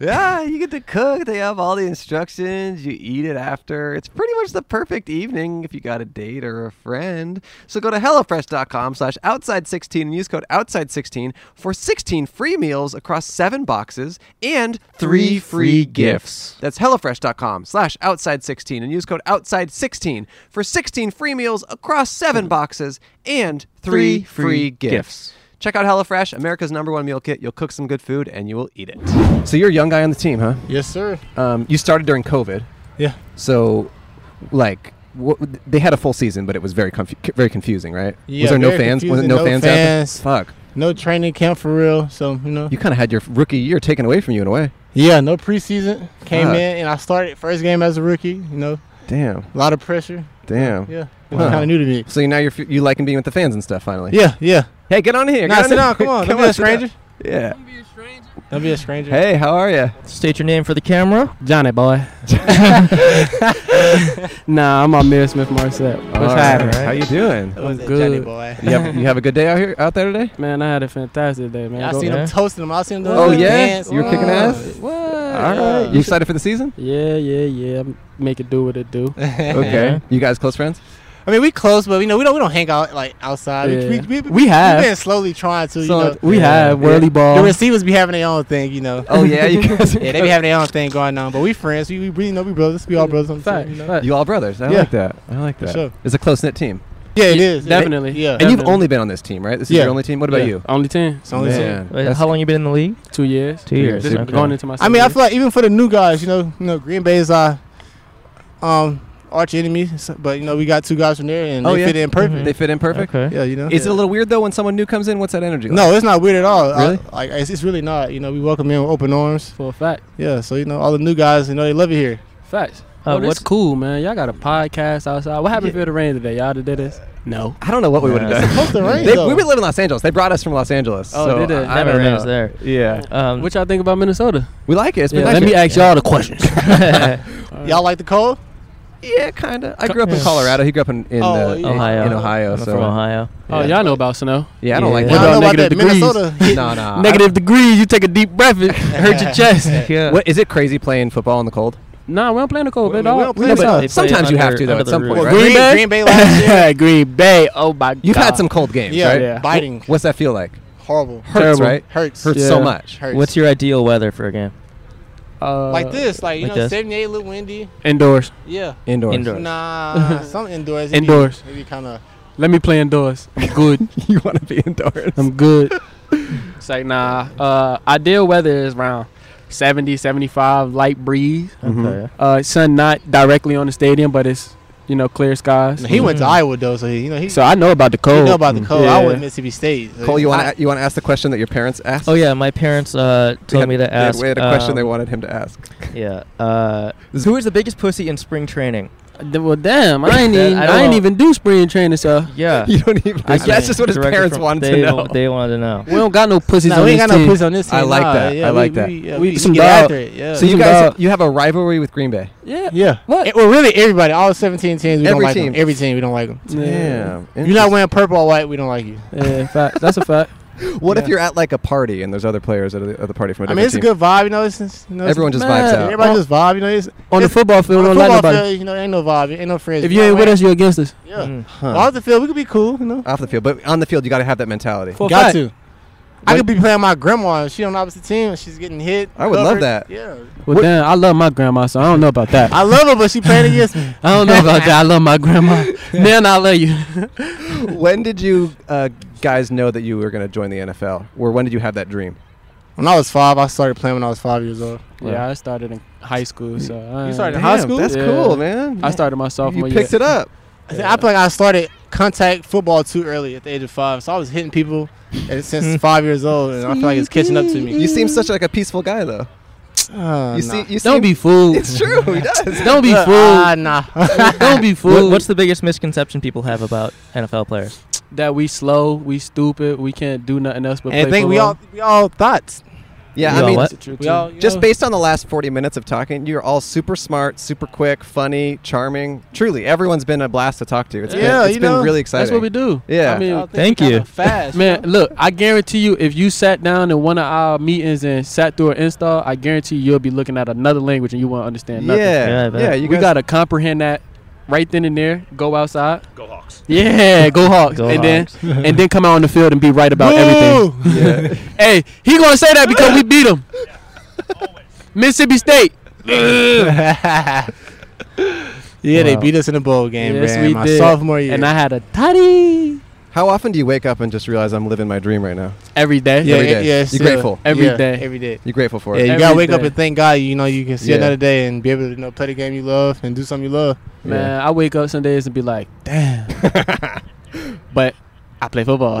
yeah, you get to cook. They have all the instructions. You eat it after. It's pretty much the perfect evening if you got a date or a friend. So go to HelloFresh.com slash outside16 and use code outside16 for 16 free meals across seven boxes and three free gifts. That's HelloFresh.com slash outside16 and use code outside16 for 16 free meals across seven boxes and three free gifts. Check out HelloFresh, America's number one meal kit. You'll cook some good food and you will eat it. So you're a young guy on the team, huh? Yes, sir. Um, you started during COVID. Yeah. So, like, what, they had a full season, but it was very confu- very confusing, right? was there no very fans? Was it confusing, no, fans? out there? Fuck. No training camp for real. So you know. You kind of had your rookie year taken away from you in a way. Yeah, no preseason. Came Fuck. in and I started first game as a rookie. You know, Damn. a lot of pressure. Damn. Yeah. It was kind of new to me. So you- now you're f- you liking being with the fans and stuff finally. Yeah, yeah. Hey, get on here. Nah, get sit down. Come on. Don't be a sit down. stranger. Yeah. Don't be a stranger. Hey, how are you? State your name for the camera. Johnny boy. Nah, I'm on Mayor Smith Marset. What's All right. happening? How you doing? What's Johnny good? boy. You have, you have a good day out here out there today? Man, I had a fantastic day, man. I Go- seen them toasting them. I seen them. Oh doing the yeah, dance. you were kicking Whoa. ass. What? All right. You excited for the season? Yeah, yeah, yeah. I'm- Make it do what it do. Okay. You guys close friends? I mean, we close, but you know, we don't we don't hang out like outside. Yeah. We, We have. We've been slowly trying to. you So, know, we have whirly ball. The receivers be having their own thing, you know. Oh, yeah, you guys- yeah, they be having their own thing going on. But we friends. We we really know we brothers. We all brothers on the team, you know? You all brothers. I Yeah. like that. I like For that. sure. It's a close knit team. Yeah, it is. Definitely. Yeah. And you've Definitely. only been on this team, right? This is Yeah. your only team. What about Yeah. you? Only 10. It's only Man, 10. Wait, that's- how long you been in the league? Two years. Two years. This is okay. going into my I mean, I feel like even for the new guys, you know, you know, Green Bay's our um, arch enemy, so- but you know, we got two guys from there and Oh, they yeah. fit in perfect. Mm-hmm. They fit in perfect. Okay. Yeah, you know. Is it a little weird though when someone new comes in? What's that energy? like? No, it's not weird at all. I- Really? like it's, it's really not. You know, we welcome in with open arms. For a fact. Yeah, so you know, all the new guys, you know, they love it here. Facts. Oh, Oh, what's this- cool, man? Y'all got a podcast outside. What happened if it rained today? Y'all did this? No. I don't know what we would have Yeah. done. Supposed to rain They, though. we would live in Los Angeles. They brought us from Los Angeles. Oh, so did they? I Never don't rains know. there. Yeah, Um, What y'all think about Minnesota? we like it. It's been Yeah, nice let me here. ask y'all the questions. Uh, Y'all like the cold? Yeah, kind of. I grew up in Yeah. Colorado. He grew up in, in Oh, uh, yeah. Ohio. In Ohio. I'm So from Ohio. Oh, Yeah. y'all know about snow. Yeah, I don't like Yeah. Y'all that. about know about negative that degrees? Minnesota? no, no. Negative degrees. You take a deep breath. It hurt your chest. yeah. What is it crazy playing football in the cold? Nah, we don't play in the cold, We- baby. we dog. don't play in the cold. outside. They play Sometimes you have under- to though under at the some roof. point, Well, right? Green, Bay? Green Bay last year. Green Bay. Oh my You've had some cold games, Yeah. right? Yeah. Biting. What's that feel like? Horrible. Hurts, right? Hurts. Hurts Yeah. so much. Hurts. What's your ideal weather for a game? Uh, like this? Like you like know, this? 78, little windy. Indoors. Yeah. Indoors. Indoor. Nah, some indoors. it be- Indoors. It be kind of. Let me play indoors. I'm good. you want to be indoors? I'm good. it's like, nah. Uh, ideal weather is around 70, 75, light breeze. Mm-hmm. Okay. Uh, sun not directly on the stadium, but it's, you know, clear skies. Mm-hmm. He went to Iowa though, so he, you know he. So I know about the cold. Mm-hmm. he know about the cold. Yeah. I went to Mississippi State. so Cole, he- you want to you want to ask the question that your parents asked? Oh yeah, my parents uh, They told had- me to they had- ask. We had a question they um, wanted him to ask. Yeah. Uh, who is the biggest pussy in spring training? D- Well, damn, I ain't That- even, I I, don't ain't know. even do spring training, so Yeah. You don't even. I can't- That's just what his directly parents from- wanted they to know. wa- They wanted to know. we don't got no pussies Nah, on we this ain't got team. no puss on this team. I like nah, that. Yeah, I we- like we, that. Yeah, We we, some we get dog. after it. Yeah. So you Some guys dog. you have a rivalry with Green Bay. Yeah, yeah. What? Eh, Well, really, everybody, all 17 teams, we Every don't like team. them. Every team, we don't like them. Yeah. You're not wearing purple or white, we don't like you. yeah, fact. That's a fact. What if you're at like a party and there's other players at the other party from a I different mean, it's a team? good vibe, you know. It's, it's, you know, it's- Everyone just man, vibes out. Everybody just vibe, you know. It's, On the it's- football field, on we the don't like football nobody. field, you know, ain't no vibe, ain't no friends. If you ain't with us, you're against us. Yeah. Huh. Well, off the field, we could be cool, you know. Off the field, but on the field, you got to have that mentality. Got to. I could be playing my grandma, and she on the opposite team, and she's getting hit. I would love covered. that. Yeah. What- Well, damn, I love my grandma, so I don't know about that. I love her, but she playing against me. I don't know about that. I love my grandma. Man, I love you. when did you uh, guys know that you were going to join the NFL? Or when did you have that dream? When I was five, I started playing when I was five years old. Yeah, I started in high school. So uh, You started in high damn, school? That's Yeah. cool, man. I started my You sophomore year. picked it up. I think- I feel like I started contact football too early at the age of five, so I was hitting people and since five years old, and I feel like it's catching up to me. You seem such like a peaceful guy, though. you Uh, nah. see, you Don't seem- be fooled. It's true. He does. Don't be Uh, Look, fooled. ah, nah. Don't be What, what's the biggest misconception people have about NFL players? that we slow, we stupid, we can't do nothing else but and I play think we all football. we all thoughts. Yeah, We all I mean, what? It's a true We all- team. just yeah. based on the last 40 minutes of talking, you're all super smart, super quick, funny, charming. Truly, everyone's been a blast to talk to. It's Yeah, been, it's you been know, really that's exciting. what we do. Yeah. I mean, I think Thank we kinda you. Fast. Man, look, I guarantee you, if you sat down in one of our meetings and sat through an install, I guarantee you'll be looking at another language and you won't understand nothing. Yeah. Yeah, I bet. Yeah, you we guys- gotta comprehend that right then and there. Go outside. Go Hawks. Yeah, go Hawks. Go and Hawks. then and then come out on the field and be right about Boo! everything. hey, he gonna say that because we beat him. Mississippi State. yeah, they Wow. beat us in a bowl game, Yes, man. we my did. sophomore year, And I had a toddy. How often do you wake up and just realize I'm living my dream right now? Every day. Yeah, every yeah, day. yeah, You're still. grateful. Every Yeah, day. Every every day. You're grateful for Yeah, it. you Every gotta wake up day. and thank God. You know, you can see Yeah. another day and be able to you know play the game you love and do something you love. Man, I wake up some days and be like, damn. but I play football.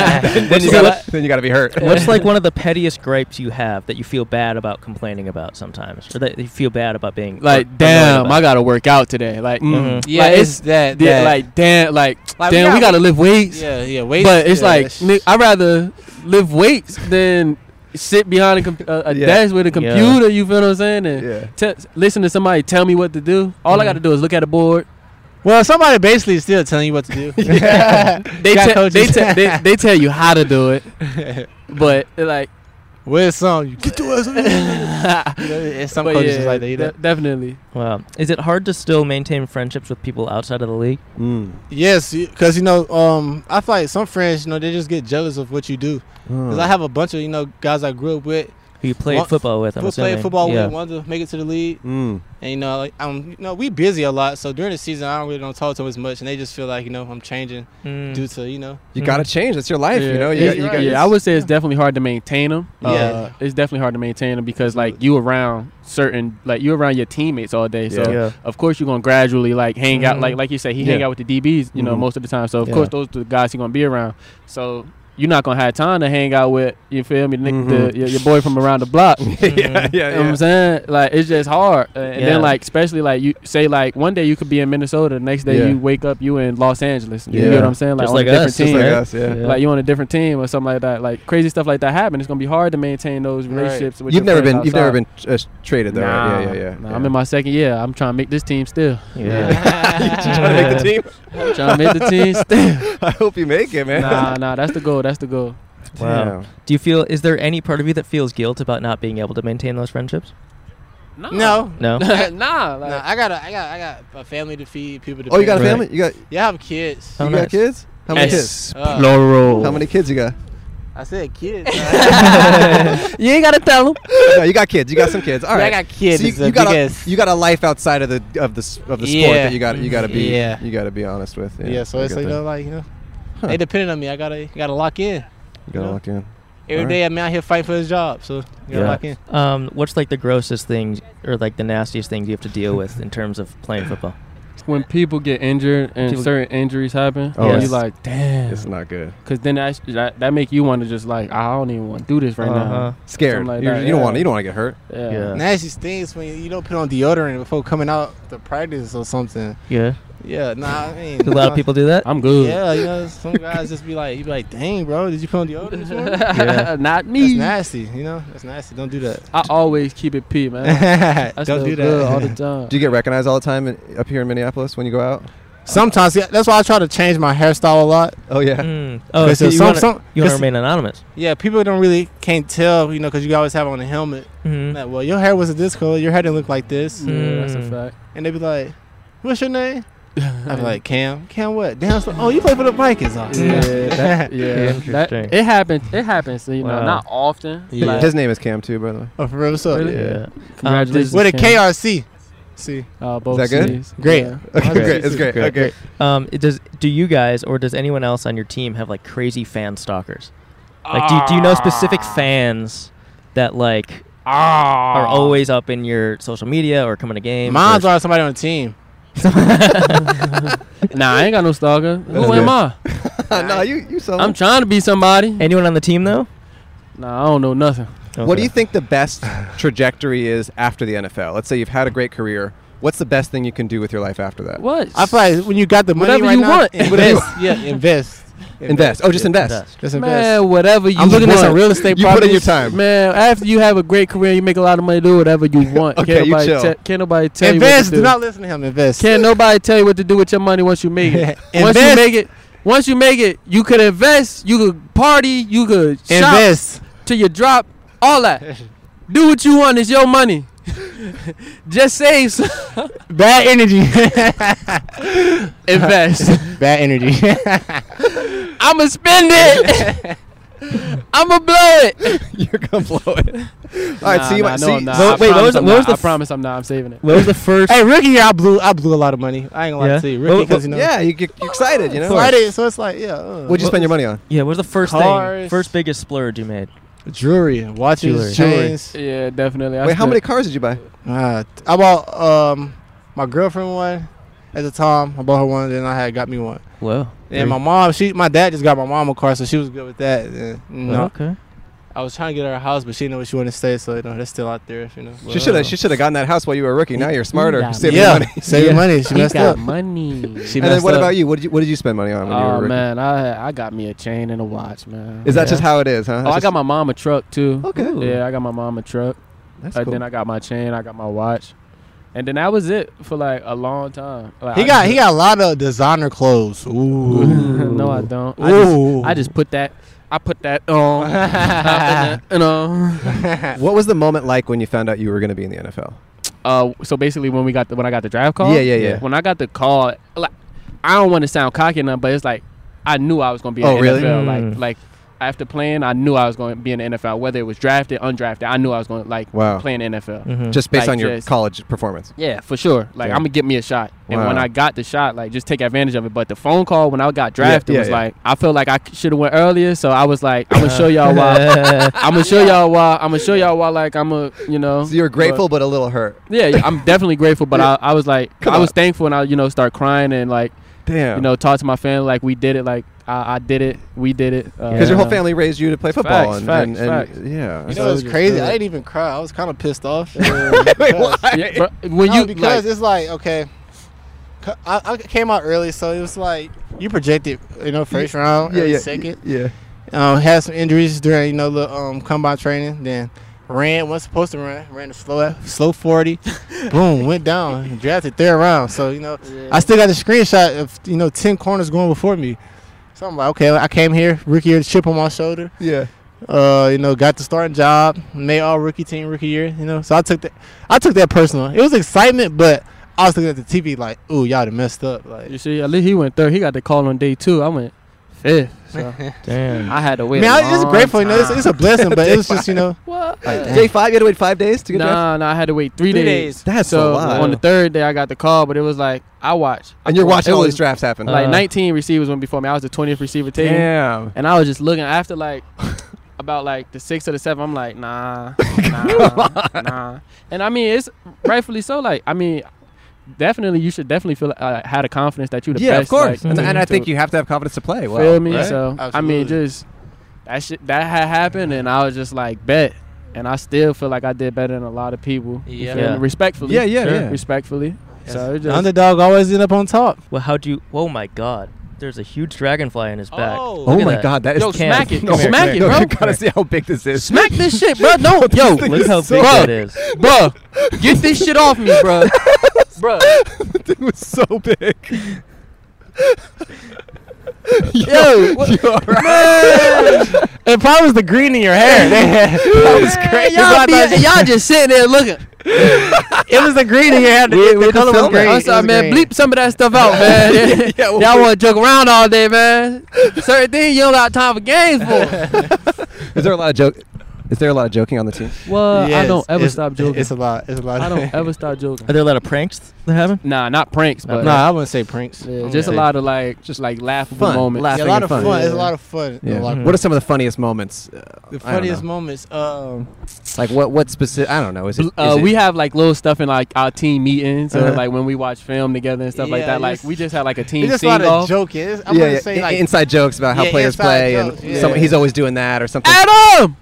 Then you So gotta- what- then you gotta be hurt. What's like one of the pettiest gripes you have that you feel bad about complaining about sometimes, or that you feel bad about being like or- or annoyed damn, about? I gotta work out today. Like, mm. Mhm. Mm-hmm. like, Yeah, it's that- yeah, that. like damn, like, Like, we damn, we, got- gotta lift weights. Yeah, yeah, weights, But it's yeah, like that's- Nick, I'd rather lift weights than sit behind a, com- a, a Yeah. desk with a Yeah. computer. You feel what I'm saying? And Yeah. te- listen to somebody tell me what to do. All I Mhm. gotta do is look at a board. Well, somebody basically is still telling you what to do. They Got te- they, coaches. te- they they tell you how to do it, but like. Where's some? You get your ass over here. You know, it's some But coaches yeah, is like that. You know? de- definitely. Wow. Is it hard to still maintain friendships with people outside of the league? Mm. Mm. Yes, because you know, um, I feel like some friends, you know, they just get jealous of what you do. Because Mm. Hmm. I have a bunch of you know guys I grew up with. Who you played One- football with, I'm who played assuming. football Yeah. with, wanted to make it to the league, Mm. and you know, like I'm, you know, we busy a lot. So during the season, I don't really don't talk to them as much, and they just feel like you know I'm changing Mm. due to you know. You Mm. gotta change. That's your life. You know. You yeah, got- you Mm-hmm. yeah, got- yeah, I would say it's definitely hard to maintain them. Yeah. Uh, it's definitely hard to maintain them because like you around certain like you around your teammates all day. So Yeah. Yeah. of course you're gonna gradually like hang out Mhm. like like you say he Yeah. hang out with the DBs you know Mhm. most of the time. So of Yeah. course those are the guys you're gonna be around. So you're not gonna have time to hang out with you feel me the, Mhm. the, your, your boy from around the block. Mm-hmm. yeah, yeah, You know what yeah. I'm saying like it's just hard. Uh, and Yeah. then like especially like you say like one day you could be in Minnesota, the next day Yeah. you wake up you in Los Angeles. You Yeah. know what I'm saying? Like Just on like a us, different just team. like right? us, yeah. Like you on a different team or something like that. Like crazy stuff like that happen. It's gonna be hard to maintain those Right. relationships. With You've your never been. friends You've never outside. been uh, traded though. Nah, right? Yeah, yeah, yeah. nah, I'm in my second year. I'm trying to make this team still. Yeah. You trying to make the team? I'm trying to make the team still. I hope you make it, man. Nah, nah, that's the goal. That's the goal. Wow. Yeah. Do you feel? Is there any part of you that feels guilt about not being able to maintain those friendships? No, No? nah, like- I got, a, I got, I got a family to feed, people to. Oh, you feed. got a family? You got- Yeah, I have kids. You got kids? How many Yes. kids? Uh, How many kids you got? I said kids. you ain't gotta tell them. No, you got kids. You got some kids. All Yeah, I right. got kids. So It's you, a you got big a, ass- you got a life outside of the of the s- of the sport Yeah. that you got you got to be Yeah. you got to be honest with. yeah. Yeah. so I it's get like, you that. know, like you know, they depended on me. I gotta, gotta lock in. you got to lock in. Every day I'm out here fighting for this job, so you gotta lock in. Um, what's like the grossest things or like the nastiest things you have to deal with in terms of playing football? When people get injured and People- certain injuries happen, Oh, oh, you it's- like, damn, it's not good. Cause then that's- that that make you want to just like, I don't even want to do this right Uh-huh. now. Scared. Something You- that, you don't yeah. wanna- you don't wanna get hurt. Yeah. Yeah. Nastiest things when you, you don't put on deodorant before coming out to practice or something. Yeah. Yeah, nah, I mean, Do a lot of people do that? I'm good. Yeah, you know, some guys just be like, you be like, dang, bro, did you put on deodorant? this morning?" Yeah. Not me. That's nasty, you know. That's nasty. Don't do that. I always keep it p, man. I uh, Don't smell do that. good all the time. Do you get recognized all the time in, up here in Minneapolis when you go out? Sometimes yeah, that's why I try to change my hairstyle a lot. Oh yeah. Mm. Oh, so you wanna- you wanna remain anonymous. Yeah, people don't really can't tell, you know, because you always have on a helmet. Mm-hmm. Mhm. Like, well, your hair was this color, your hair didn't look like this. Yeah, that's a Mm. fact. And they be like, "What's your name?" I'm like, "Cam, Cam, what? Damn, so- oh, you play for the Vikings, huh? Yeah, that, yeah. That, it happens. It happens. You know, not often. Like, His name is Cam too, by the way. Oh, for real? What's up? Really? Yeah. Yeah. Congratulations, With a Cam. KRC. See. Uh, both that good? C's. Great. Yeah. Okay, great. It's great. Okay. Um, it does do you guys or does anyone else on your team have like crazy fan stalkers? Like, do, do you know specific fans that like are always up in your social media or coming to games? Mine's are somebody on the team. nah, I ain't got no stalker. Who am I? no, you you so. I'm trying to be somebody. Anyone on the team though? Nah, I don't know nothing. What do you think the best trajectory is after the NFL? Let's say you've had a great career. What's the best thing you can do with your life after that? What? I feel like when you got the money Whatever right you now, want. invest. yeah, invest. Invest. Oh, just invest. Just invest. Man, whatever you I'm looking want. at some real estate You put in properties. your time. Man, after you have a great career, you make a lot of money. Do whatever you want. Okay, can't you nobody chill. te- can't nobody tell invest. you. Do what to not listen to him. Invest. Can't nobody tell you what to do with your money once you make it. once you Invest. make it, once you make it, you could invest. You could party. You could shop Invest. till you drop. All that. do what you want. It's your money. Just save. Some Bad energy. invest. Bad energy. I'ma spend it. I'ma blow it. You're gonna blow it. All right, Nah, so you nah, might no, see. I'm not. so- I wait, what promise was, the- I'm what not. was the I promise I'm not. I'm saving it. What was the first? hey, rookie year, I blew. I blew a lot of money. I ain't gonna Yeah? lie to you. Well, Rookie, because you know. Yeah, you get you're excited, you know. So I did. So it's like, yeah. Uh, What'd you spend your money on? Yeah, what's the first thing? Cars. First biggest splurge you made? Jewelry, watches, Jewelry. chains. Yeah, definitely. I Wait, how spent- many cars did you buy? Uh, I bought um my girlfriend one at the time. I bought her one, then I had got me one. Whoa. And my mom, she, my dad just got my mom a car, so she was good with that. And, you know, Okay. I was trying to get her a house, but she didn't know what she wanted to stay, so you know, that's still out there. You know, She should have. She should have gotten that house while you were a rookie. Now you're smarter. Yeah. saving Yeah. money. Saving Yeah. money. She He messed got up. money. She and then messed what up. about you? What did you What did you spend money on when you were a Oh rookie? man, I I got me a chain and a watch, man. Is that just Yeah. how it is? Huh? Oh, That's I got just- my mom a truck too. Okay. Ooh. Yeah, I got my mom a truck. That's and cool. Uh, then I got my chain. I got my watch. And then that was it for like a long time. Like, he I got just- he got a lot of designer clothes. Ooh. no, I don't. I just, I just put that. I put that on. uh, I put that, you know. What was the moment like when you found out you were going to be in the NFL? Uh, so basically, when we got the, when I got the draft call. Yeah, yeah, yeah. When I got the call, like I don't want to sound cocky or nothing, but it's like I knew I was gonna be. Oh, in the really? NFL. Mm. Like like after playing, I knew I was gonna be in the NFL. Whether it was drafted, undrafted, I knew I was gonna like Wow. play in the NFL. Mm-hmm. Just based Like, on your just- college performance. Yeah, for sure. Like Yeah. I'm gonna get me a shot, and when Wow. I got the shot, like just take advantage of it. But the phone call when I got drafted yeah, was yeah. like I felt like I should have went earlier, so I was like I'm gonna show y'all why. I'm gonna show y'all why. I'm gonna show y'all why. Like I'm a you know. So you were grateful, but a little hurt. Yeah, yeah, I'm definitely grateful, but I, I was like Come I was on. thankful, and I you know start crying and like Damn. you know talk to my family like we did it, like I, I did it, we did it. uh, because your whole family raised you to play football Facts, and, facts, and, and- facts. yeah. You know, it's just crazy. good. I didn't even cry. I was kind of pissed off. Wait, Because- why? Yeah, bro, when No, you because like, it's like okay, c- I, I came out early, so it was like you projected, you know, first round, Yeah, early yeah, second. yeah. Um, had some injuries during you know the um combine training. Then ran wasn't supposed to run. Ran a slow slow forty. boom, went down. Drafted third round. So you know, I still got the screenshot of you know ten corners going before me. So I'm like, okay, I came here rookie year chip on my shoulder. Yeah. Uh, you know, got the starting job, made all rookie team rookie year. You know, so I took that. I took that personal. It was excitement, but I was looking at the TV like, ooh, y'all done messed up. Like, you see, at least he went third. He got the call on day two. I went fifth. So Damn. I had to wait. man, a I- it's long grateful. You know, it's, time. it's a blessing, but it was just you know, What? like, Day five, you had to wait five days to get drafted. Nah, nah, I had to wait three, Three days. days. That's a so lot. on the third day I got the call, but it was like I watched. And you're I wa- watching it all was these drafts happen. Like Uh, 19 receivers went before me. I was the 20th receiver taken. Damn. And I was just looking after like about like the six or the seven. I'm like, nah, nah, nah. And I mean, it's rightfully so. Like, I mean, definitely you should definitely feel uh, had a confidence that you're the yeah, best. of course. like, and, to- and I to- think you have to have confidence to play. Well, Feel me? right? So I mean, just that shit that had happened, and I was just like, bet. And I still feel like I did better than a lot of people. You Yeah. feel me? Yeah. Respectfully. Yeah, yeah, yeah. Respectfully. So it just underdog always end up on top. Well, how do you? Oh my God! There's a huge dragonfly in his back. Oh my God, that is Yo, Cam, smack it. come here, smack come it, here. bro. you gotta see how big this is. Smack this shit, bro. No, yo, thing Look is how so big big. that is. bro, get this shit off me, bro. bro, it was so big. Yo, what- man. if I was the green in your hair, man, that was crazy. y'all, If I be, thought- y'all just sitting there looking. it was the green in your hair. The, We're- the we're color was filming. green. I'm It sorry, was uh, man. green. Bleep some of that stuff out, man. Yeah, y'all we're- want to joke around all day, man. Certain things you don't got time for games for. Is there a lot of joke? Is there a lot of joking on the team? Well, I don't ever it's- stop joking. it's a lot- it's a lot I of- don't ever stop joking. Are there a lot of pranks that happen? Nah, not pranks, but Nah, I wouldn't say pranks. Yeah, Okay. just a lot of like, just like laughable Fun. moments. Laughing Yeah, a lot and of fun. fun. It's a lot of fun. A lot of Mm-hmm. What fun. are some of the funniest moments? Uh, I The don't funniest know. moments. Um, Like what? What specific? I don't know. Is it? Uh, is we it- have like little stuff in like our team meetings, or Uh-huh. like when we watch film together and stuff like Yeah, that. Like it's- we just had like a team it's just a sing lot of off. joking. It's- I yeah, wouldn't yeah. say in- like inside jokes about how Yeah, players inside play, jokes, and yeah. some, he's always doing that or something. Adam.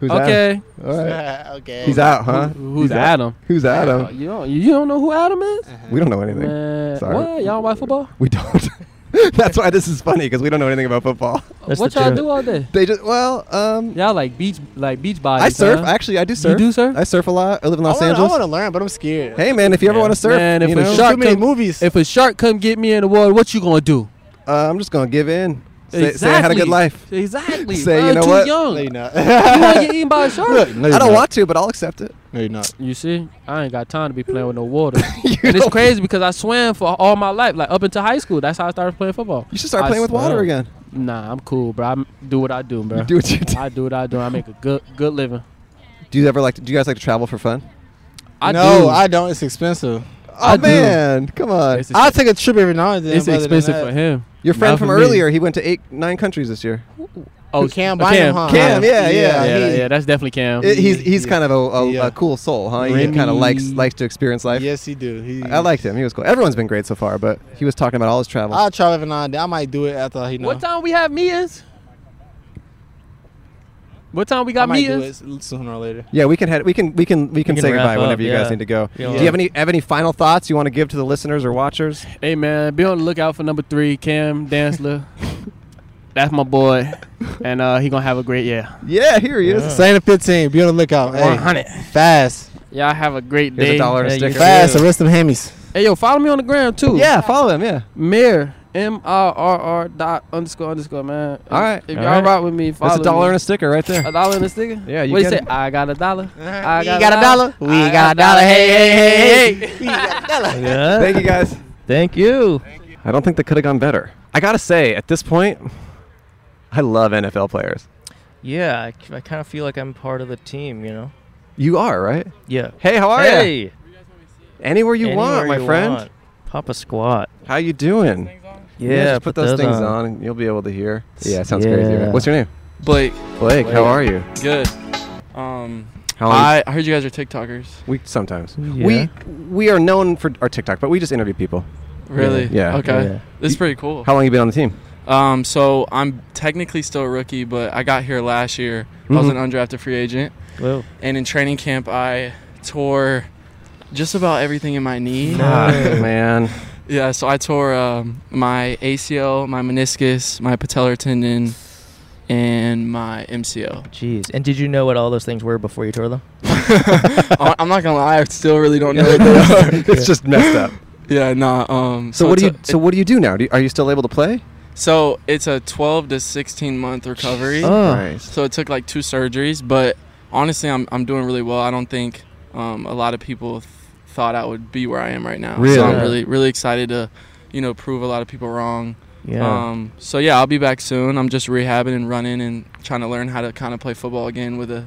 Who's okay. All right. okay. He's out, huh? Who- who's He's out. Adam? Who's Adam? Uh, You don't, you don't know who Adam is? We don't know anything. Man, Sorry. What? Y'all watch football? We don't. That's why this is funny because we don't know anything about football. what y'all do all day? They just well, um, y'all like beach, like beach bodies. I surf. huh? Actually, I do You surf. do surf? I surf a lot. I live in I Los wanna- I Angeles. want to learn, but I'm scared. Hey man, if you ever want to surf, Man, you if know, a shark too many come- movies. if a shark come get me in the water, what you gonna do? uh, I'm just gonna give in. Say, say I had a good life. Exactly. Say, bro, you know too what? Young. No, you're not. you wanna get eaten by a shark? No, you're I don't not. want to, but I'll accept it. No, you're not. You see, I ain't got time to be playing with no water. and it's crazy because I swam for all my life, like up until high school. That's how I started playing football. You should start I playing with water swam. again. Nah, I'm cool, bro. I m- do what I do, bro. do what you do. I do what I do. I make a good good living. Do you ever like? do you guys like to travel for fun? I no, do. I don't. It's expensive. Oh man, come on! I'll take a trip every now and then. It's but other than expensive that- for him. Your friend Not from for me. earlier, he went to eight, nine countries this year. Oh, Cam uh, Bynum, huh? Cam, yeah, yeah, yeah, he- yeah, That's definitely Cam. I- he's he's kind of a, a, Yeah. a cool soul, huh? He kind of Remy. likes likes to experience life. Yes, he do. He, I liked him. He was cool. Everyone's been great so far, but he was talking about all his travels. I'll travel every now and then. I might do it after he know. What time we have meetings? What time I we got might do meetings? it s- sooner or later. yeah, we can head. We can we can we can, can say wrap goodbye up, whenever you guys yeah. need to go. Yeah. Do you have any have any final thoughts you want to give to the listeners or watchers? Hey man, be on the lookout for number three, Cam Dansler. That's my boy, and uh, he gonna have a great year. Yeah, here he is. Same to 15. Be on the lookout. Hey, 100. Fast. Y'all have a great day. Here's a dollar and a sticker. Fast. Arrest them hammies. Hey yo, follow me on the gram too. Yeah, follow him. Yeah. Mayor M R R R dot underscore underscore man. All right. If All y'all all right. rock with me, follow That's a dollar me. and a sticker right there. A dollar and a sticker? Yeah, you What you get say? it. I got a dollar. I We got a dollar. We I got a dollar. Hey, hey, hey, hey. We got a dollar. Yeah. Thank you guys. Thank you. I don't think that could have gone better. I gotta say, at this point, I love NFL players. Yeah, I, kind of feel like I'm part of the team, you know? You are right. Yeah. Hey, how are hey. you? Anywhere you want, my Anywhere you friend. want. Pop a squat. How you doing? Yeah, just put, those, things on. and you'll be able to hear. Yeah, it sounds crazy. Right? Yeah. What's your name? Blake. Blake, how are you? Good. Um, How long- I, I heard you guys are TikTokers. We sometimes Yeah. we we are known for our TikTok, but we just interview people. Really? Yeah. Okay. Yeah. This is pretty cool. How long you been on the team? Um, so I'm technically still a rookie, but I got here last year. I was Mhm. an undrafted free agent. Whoa. And in training camp, I tore just about everything in my knee. Ah, man. Yeah, so I tore um, my ACL, my meniscus, my patellar tendon, and my MCL. Jeez. And did you know what all those things were before you tore them? I- I'm not gonna lie, I still really don't know what they are. It's just messed up. Yeah, nah. Um. So, what do you it's a- so what do you do now? Do you, are you still able to play? So it's a 12 to 16 month recovery. Oh. Christ. So it took like two surgeries, but honestly, I'm I'm doing really well. I don't think um, a lot of people th- thought I would be where I am right now. Really? So I'm Yeah. really really excited to, you know, prove a lot of people wrong. Yeah. Um, so yeah, I'll be back soon. I'm just rehabbing and running and trying to learn how to kind of play football again with a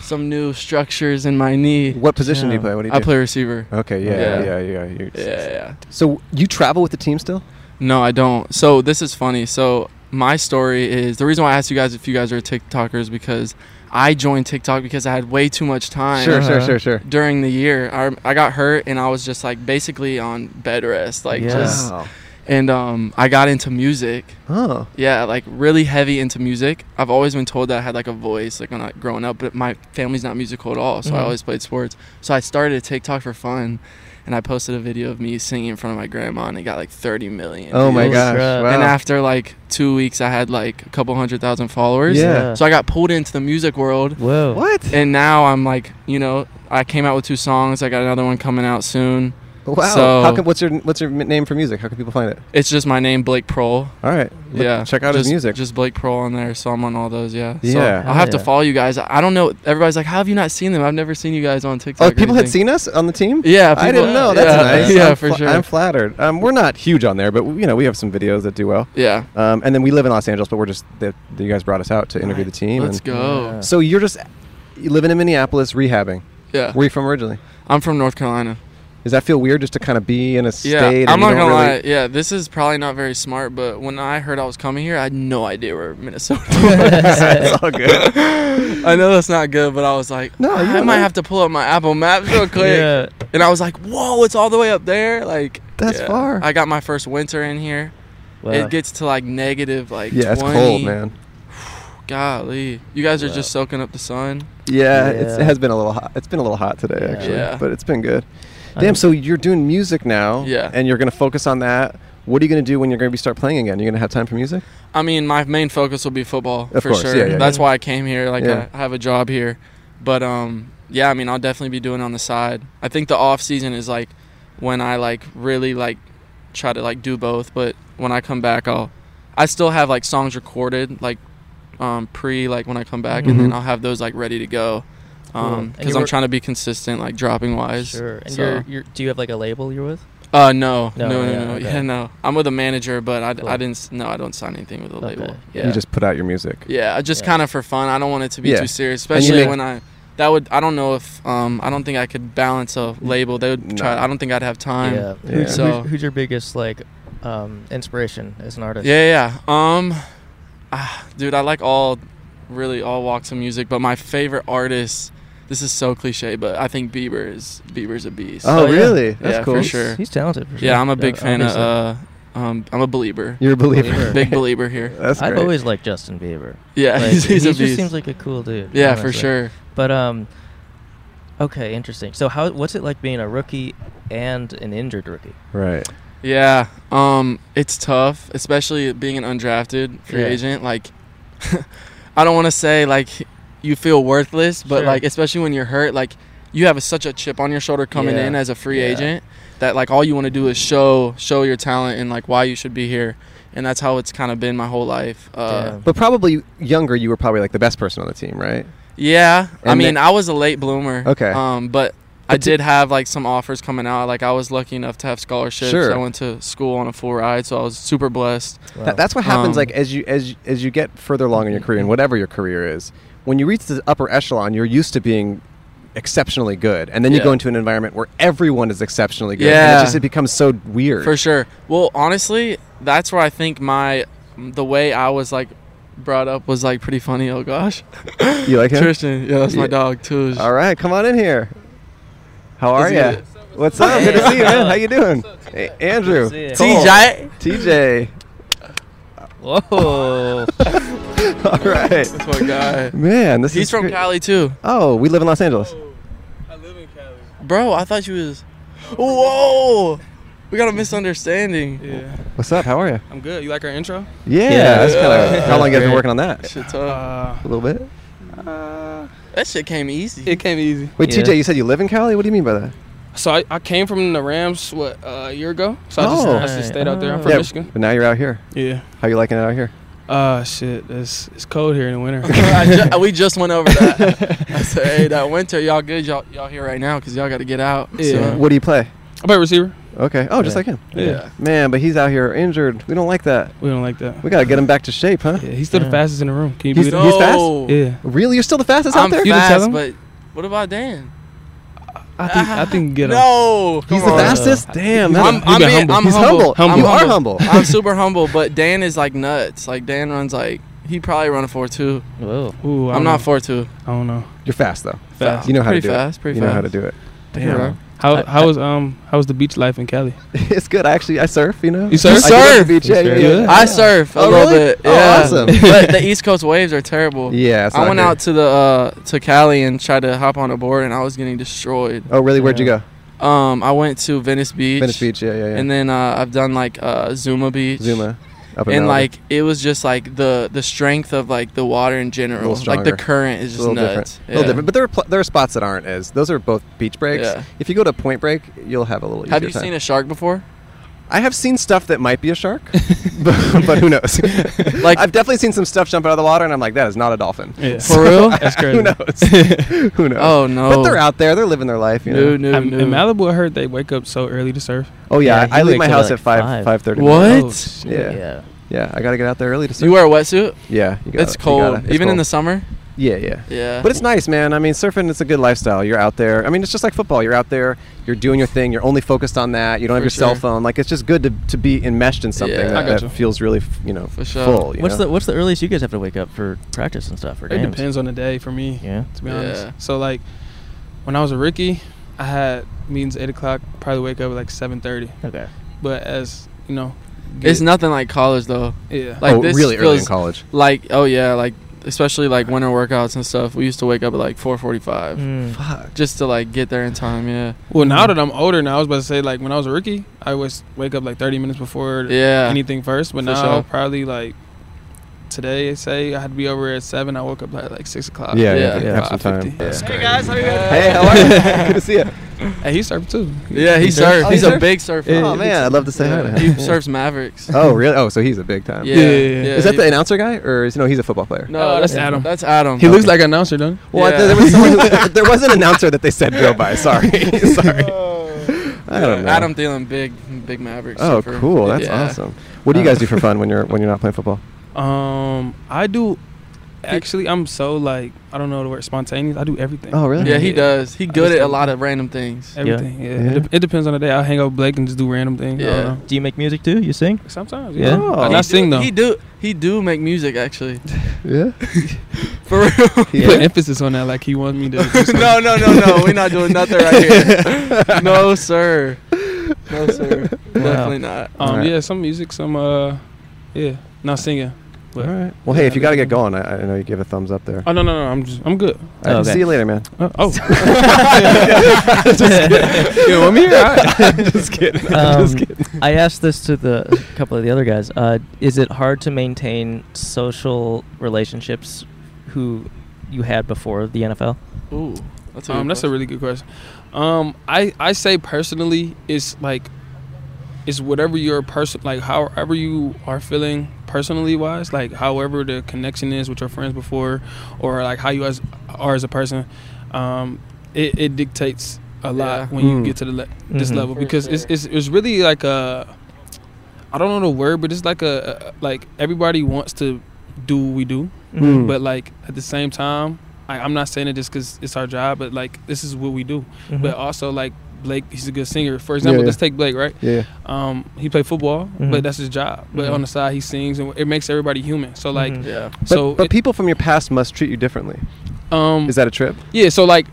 some new structures in my knee. What position do you play? What do you I do? play receiver. Okay. Yeah. Yeah. Yeah. Yeah. Yeah, yeah. So you travel with the team still? No, I don't. So this is funny. So my story is the reason why I asked you guys if you guys are TikTokers because I joined TikTok because I had way too much time. Sure, sure, Uh-huh. sure, sure. During the year, I, I got hurt and I was just like basically on bed rest, like Yeah. just. Wow. And um, I got into music. Oh. Yeah, like really heavy into music. I've always been told that I had like a voice, like when I growing up, but my family's not musical at all, so I Mhm. always played sports. So I started a TikTok for fun, and I posted a video of me singing in front of my grandma, and it got like 30 million. Oh my views. gosh, wow. And after like two weeks, I had like a couple hundred thousand followers. Yeah. So I got pulled into the music world. Whoa. What? And now I'm like, you know, I came out with two songs. I got another one coming out soon. Wow. So How can, what's your what's your m- name for music? How can people find it? it's just my name, Blake Prohl. All right. Look- yeah. check out his just, music. Just Blake Prohl on there, so I'm on all those. Yeah. So Yeah. I'll have to Yeah. follow you guys. I don't know. Everybody's like, "How have you not seen them? I've never seen you guys on TikTok." Oh, or people had anything." seen us on the team. Yeah, I people- didn't know. That's yeah, nice. yeah, I'm for fla- sure. I'm flattered. Um, we're not huge on there, but you know we have some videos that do well. Yeah. Um, and then we live in Los Angeles, but we're just the, you guys brought us out to interview the team. Let's and- go. Yeah. So you're just you living in Minneapolis, rehabbing. Yeah. Where you from originally? I'm from North Carolina. Does that feel weird just to kind of be in a state? and I'm you not don't gonna really- lie. Yeah, this is probably not very smart, but when I heard I was coming here, I had no idea where Minnesota was. That's all good. I know that's not good, but I was like, no, I might have to pull up my Apple Maps real quick. Yeah. And I was like, whoa, it's all the way up there. Like That's far. I got my first winter in here. Wow. It gets to like negative like Yeah, it's 20. cold, man. Golly, you guys are just soaking up the sun. Yeah, It's, it has been a little hot. It's been a little hot today, actually, Yeah. but it's been good. I Damn, mean- so you're doing music now, Yeah. and you're going to focus on that. What are you going to do when you're going to be start playing again? You're going to have time for music? I mean, my main focus will be football Of for course, sure. yeah, yeah, That's yeah. why I came here. Like Yeah. I have a job here, but um, yeah. I mean, I'll definitely be doing it on the side. I think the off season is like when I like really like try to like do both. But when I come back, I'll I still have like songs recorded like um pre like when I come back, Mm-hmm. and then Mhm. I'll have those like ready to go. Cool. Um, And because you I'm were- trying to be consistent, like dropping wise. Sure. And So- you're, you're, do you have like a label you're with? uh no no no No, no yeah, yeah, no. okay. I'm with a manager, but I, I Cool. didn't s- no I don't sign anything with a Okay. label. You just put out your music. Yeah, just kind of for fun. I don't want it to be Yeah. too serious, And you especially make- when I that would I don't know if um I don't think I could balance a label. They would try. I don't think I'd have time. Yeah. Who's, So who's, who's your biggest like um, inspiration as an artist? yeah, yeah. Um, ah, dude, I like all, really all walks of music, but my favorite artist. This is so cliche, but I think Bieber is Bieber's a beast. Oh, Oh, yeah. really? That's yeah, cool. for He's- sure. he's talented, for sure. Yeah, I'm a big Yeah, fan of. obviously. Uh, um, I'm a believer. You're a believer. big believer here. I've always liked Justin Bieber. Yeah, Like, he's, he's he a just beast. seems like a cool dude. Yeah, for honestly. sure. But um, okay, interesting. So how what's it like being a rookie and an injured rookie? Right. Yeah, um, it's tough, especially being an undrafted free Yeah. agent. Like, I don't want to say like you feel worthless, but Sure. like especially when you're hurt, like you have a, such a chip on your shoulder coming Yeah. in as a free Yeah. agent that like all you want to do is show show your talent and like why you should be here, and that's how it's kind of been my whole life. Uh, But probably younger, you were probably like the best person on the team, right? yeah, I And mean, that- I was a late bloomer. Okay. Um, but I did have like some offers coming out. Like I was lucky enough to have scholarships. Sure. I went to school on a full ride, so I was super blessed. Tha- that's what happens. Um, like as you as as you get further along in your career, and whatever your career is, when you reach the upper echelon, you're used to being exceptionally good, and then you Yeah. go into an environment where everyone is exceptionally good. and Yeah. it just it becomes so weird. For sure. Well, honestly, that's where I think my the way I was like brought up was like pretty funny. Oh gosh. You like him? Tristan. Yeah, that's my dog too. All right, come on in here. How are Is he- you? What's up? Good to see you, man. How you doing? A- Andrew. Good to see you. Cole. TJ. TJ? Whoa. All right. That's my guy. Man, this He's is from great. Cali too. Oh, we live in Los Angeles. Bro, I thought you was Whoa! We got a misunderstanding. Yeah. What's up? How are you? I'm good. You like our intro? Yeah, that's kind of how long you guys been working on that? Shit Uh, tough. A little bit. that shit came easy. It came easy. Wait, TJ, you said you live in Cali. What do you mean by that? So I, I came from the Rams what uh, a year ago. So I just, Oh. I just stayed out there. I'm from yeah, Michigan. But now you're out here. Yeah. How you liking it out here? Uh shit, it's it's cold here in the winter. I Uh, ju- we just went over that. I said, hey, that winter, y'all good? Y'all, y'all here right now because y'all got to get out. So- What do you play? I play receiver. Okay. Oh, just Yeah. like him. Yeah. Man, but he's out here injured. We don't like that. We don't like that. We gotta get him back to shape, huh? Yeah, he's still the fastest in the room. Can you He's, believe that? he's fast. No. Yeah. Really, you're still the fastest I'm out there. fast, but what about Dan? I think I think get him. Uh, No, He's the come on. fastest. Damn. I'm, that's- I'm, being- I'm He's humble. I'm You are humble. I'm super humble, but Dan is like nuts. Like Dan runs like he probably run a four two. Whoa. Ooh, I I'm don't not know. four two. I don't know. You're fast though. Fast. You know how Pretty to do fast, it. pretty you know how to fast. do it. Damn. Damn. How how was um how was the beach life in Cali? it's good. I actually I surf. You know. You surf? I do like the surf? beach, You yeah, surf? yeah, yeah. I surf a Oh, little really? bit. Oh, yeah. awesome. but the East Coast waves are terrible. Yeah, it's I not went good. out to the uh, to Cali and tried to hop on a board, and I was getting destroyed. Oh, really? Where'd you go? Um, I went to Venice Beach. Venice Beach, yeah, yeah, yeah. And then uh, I've done like uh, Zuma Beach. Zuma. Up mountain. and like it was just like the the strength of like the water in A general, little like the stronger. current is It's just a little nuts. different. A little different, but there are pl- there are spots that aren't as. Those are both beach breaks. Yeah. If you go to Point Break, you'll have a little. Have easier you time. seen a shark before? I have seen stuff that might be a shark, but, but who knows? like I've definitely seen some stuff jump out of the water, and I'm like, that is not a dolphin. Yeah. For real? That's who crazy. knows? who knows? Oh, no. But they're out there. They're living their life. You know? I'm- In Malibu, I heard they wake up so early to surf. Oh yeah, he I leave wakes my up house like at five five. five thirty. What? Oh, yeah. shit, yeah. yeah. I gotta get out there early to. Surf. You wear a wetsuit? Yeah, you gotta- it's you cold, gotta- it's even in cold. the summer. Yeah, yeah. Yeah. But it's nice, man. I mean, surfing it's a good lifestyle. You're out there. I mean, it's just like football. You're out there. You're doing your thing. You're only focused on that. You don't have For your cell sure. phone. Like it's just good to, to be enmeshed in something Yeah. I that, gotcha. that feels really, f- you know, For sure. full. you what's know? the What's the earliest you guys have to wake up for practice and stuff? Or It games? depends on the day for me. Yeah. To be honest. Yeah. So like, when I was a rookie, I had meetings at eight o'clock. Probably wake up at like seven thirty. Okay. But as you know, It's get- nothing like college though. Yeah. Like Oh, this really early in feels college. Like oh yeah, like especially like winter workouts and stuff. We used to wake up at like 4:45. Mm. Fuck. Just to like get there in time. Yeah. Hmm. Well, now that I'm older, now I was about to say like when I was a rookie, I always wake up like 30 minutes before Yeah. anything first. But For now sure. probably like today, say I had to be over at seven. I woke up at like six o'clock. Yeah, yeah, yeah. Have some time. That's Hey, crazy. guys, how you guys? Hey, how are you? Good to see you. Hey, he surfed too. Yeah, he surfed. Oh, He's you a big surfer. Oh man, I'd love to say hi to Yeah. him. He surfs Mavericks. Oh really? Oh, so he's a big time. Yeah, Yeah, yeah, yeah. Is that yeah. the announcer guy, or is no? He's a football player. No, that's Adam. That's Adam. Oh, He looks like an announcer, don't? he? Well, I- Yeah. there, was someone who, there was an announcer that they said go by. Sorry, sorry. I Yeah, don't know. Adam Thielen, big, big Mavericks. Oh, surfer. cool. That's Yeah. Uh, awesome. What do you guys do for fun when you're when you're not playing football? Um, I do. Actually, I'm so like I don't know the word spontaneous. I do everything. Oh, really? Yeah, he Yeah. does. He I good at just a do lot of random things. Everything. Yeah. Yeah. It, dep- it depends on the day. I'll hang out with Blake and just do random things. I Yeah. don't know. Do you make music too? You sing? Sometimes. Yeah. Yeah. Oh. I He not do- sing though. He do. He do make music actually. Yeah. For real. He put emphasis on that like he wanted me to. do something. no, no, no, no. We're not doing nothing right here. No, sir. No, sir. Wow. Definitely not. Um, Alright. yeah, some music, some uh, yeah, not singing. But All right. Well, hey, if you got to get going, I, I know you gave a thumbs up there. Oh no, no, no, I'm just, I'm good. All right, Okay. See you later, man. Uh, oh, You want me here? All right. I'm just kidding. I'm Um, just kidding. I asked this to the a couple of the other guys. Uh, is it hard to maintain social relationships who you had before the NFL? Ooh, that's a, um, good that's a really good question. Um, I I say personally, it's like, it's whatever your person like, however you are feeling personally wise, like however the connection is with your friends before, or like how you as are as a person, um, it, it dictates a lot Yeah. when you Mm. get to the le- this Mhm. level For because it's, sure. it's it's really like a, I don't know the word, but it's like a like everybody wants to do what we do Mm. but like at the same time I, i'm not saying it just because it's our job but like this is what we do Mhm. but also like blake he's a good singer for example Mm-hmm. yeah. let's take blake right Yeah. Mm-hmm. um he played football Mhm. but that's his job but Mhm. on the side he sings and it makes everybody human so like Mhm. Yeah. Mm-hmm. But, so but it- people from your past must treat you differently. um Is that a trip? yeah so like